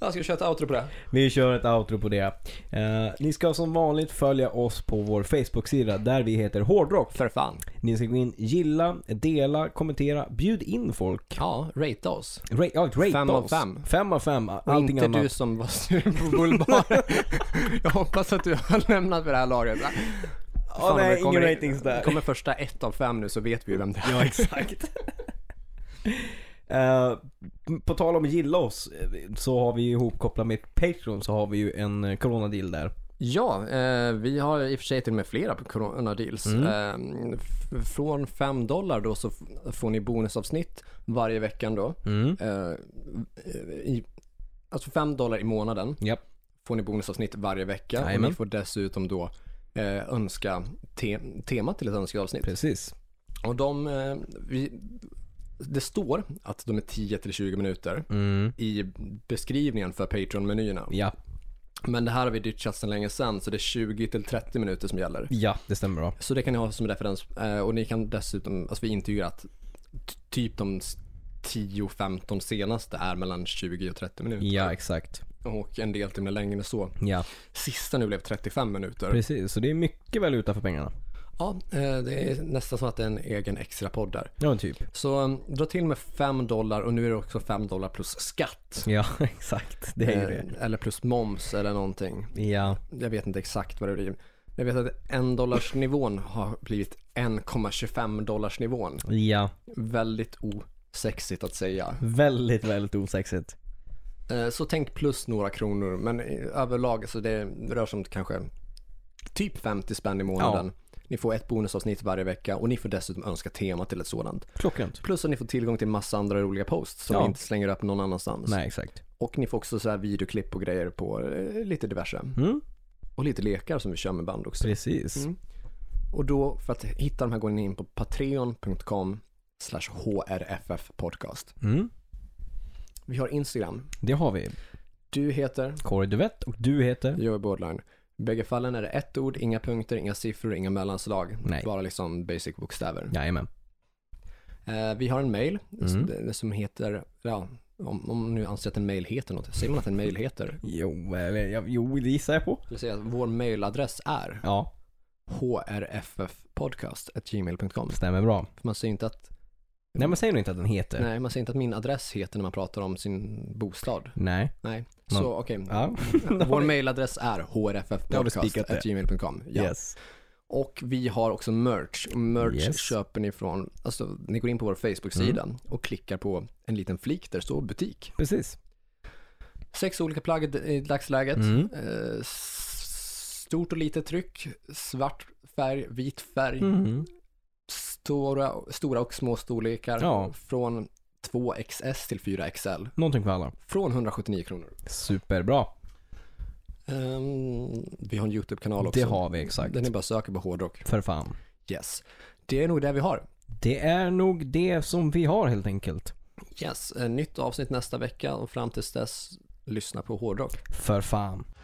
Jag ska köra ett outro på det.
Vi kör ett outro på det. Eh, ni ska som vanligt följa oss på vår Facebook-sida där vi heter Hårdrock.
För fan.
Ni ska gå in, gilla, dela, kommentera, bjud in folk.
Ja, rate oss.
Ra- ja, rate
Fem av
oss.
fem.
Fem av fem.
Och
Allting
inte
annat.
du som var sur på bullbaren. jag hoppas att du har lämnat vid det här laget.
Ja,
om
nej,
det kommer
ingen
in-
ratings där.
Kommer första ett av fem nu så vet vi ju vem det är.
Ja, exakt. Eh, på tal om gilla oss eh, så har vi ju ihopkopplat med Patreon så har vi ju en eh, coronadeal där.
Ja, eh, vi har i och för sig till och med flera coronadeals. Eh, f- från 5 dollar då så f- får ni bonusavsnitt varje Mm. veckan då. Eh, i, alltså 5 dollar i månaden
Japp.
får ni bonusavsnitt varje vecka och
Jajamän.
ni får dessutom då eh, önska te- tema till ett önskat avsnitt.
Precis.
Och de, eh, vi, det står att de är 10 till 20 minuter
Mm.
i beskrivningen för Patreon-menyerna.
Ja.
Men det här har vi ditchat sedan länge sedan så det är 20 till 30 minuter som gäller.
ja, det stämmer bra.
Så det kan ni ha som referens. Eh, Och ni kan dessutom, alltså vi intygar att t- typ de s- 10-15 senaste är mellan 20 och 30 minuter.
Ja, exakt.
Och en del timme längre än så.
Ja,
Sista nu blev 35 minuter.
precis. Så det är mycket valuta för pengarna.
Ja, eh, det är nästan som att det är en egen extra podd där.
Ja, men typ.
Så eh, dra till med 5 dollar och nu är det också 5 dollar plus skatt.
Ja, exakt. Det är ju det.
Eh, Eller plus moms eller någonting.
Ja,
Jag vet inte exakt vad det blir. Jag vet att 1 dollars nivån har blivit 1,25 dollars nivån.
ja.
Väldigt osexigt att säga.
Väldigt, väldigt osexigt.
Eh, Så tänk plus några kronor, men i- överlag så det rör sig om kanske typ 50 spänn i månaden. Ni får ett bonusavsnitt varje vecka och ni får dessutom önska tema till ett sådant.
Klockrent.
Plus att ni får tillgång till massa andra roliga posts som
Ja.
ni inte slänger upp någon annanstans.
Nej, exakt.
Och ni får också så här videoklipp och grejer på eh, lite diverse.
Mm.
Och lite lekar som vi kör med band också.
Precis.
Mm. Och då, för att hitta de här går ni in på patreon.com slash hrffpodcast.
Mm.
Vi har Instagram.
Det har vi.
Du heter?
Kåre Duvett och du heter?
Joey Bordline. I bägge fallen är det ett ord, inga punkter, inga siffror, inga mellanslag.
Nej.
Bara liksom basic bokstäver.
Jajamän.
Eh, vi har en mail
Mm.
som, det- som heter, ja, om, om nu anser att en mail heter något. Säger man att en mail heter?
Jo, eh, eller, ja, jo, det gissar jag på.
Jag säger att vår mailadress är
Ja,
hrffpodcast.gmail.com.
stämmer bra.
För man säger inte att,
Nej, men säger du inte att den heter?
nej, man säger inte att min adress heter när man pratar om sin bostad.
Nej.
Nej,
Man-
så okej.
Ja.
Vår mailadress är
Då har vi spikat det.
hrffpodcast.gmail.com. Ja.
Yes.
Och vi har också merch. Merch
Yes. Mm.
köper ni från, alltså ni går in på vår Facebook-sida och klickar på en liten flik där det står butik.
Precis.
Sex olika plagg i- i dagsläget.
Mm.
Eh, s- stort och litet tryck, svart färg, vit färg,
Mm.
stora, stora och små storlekar.
Ja.
Från 2XS till 4XL.
Någonting för alla.
Från 179 kronor.
Superbra.
Ehm, vi har en YouTube-kanal också.
Det har vi exakt.
Den är bara söker på hårdrock.
För fan.
Yes. Det är nog det vi har.
Det är nog det som vi har helt enkelt.
Yes, eh, nytt avsnitt nästa vecka och fram tills dess lyssna på hårdrock.
För fan.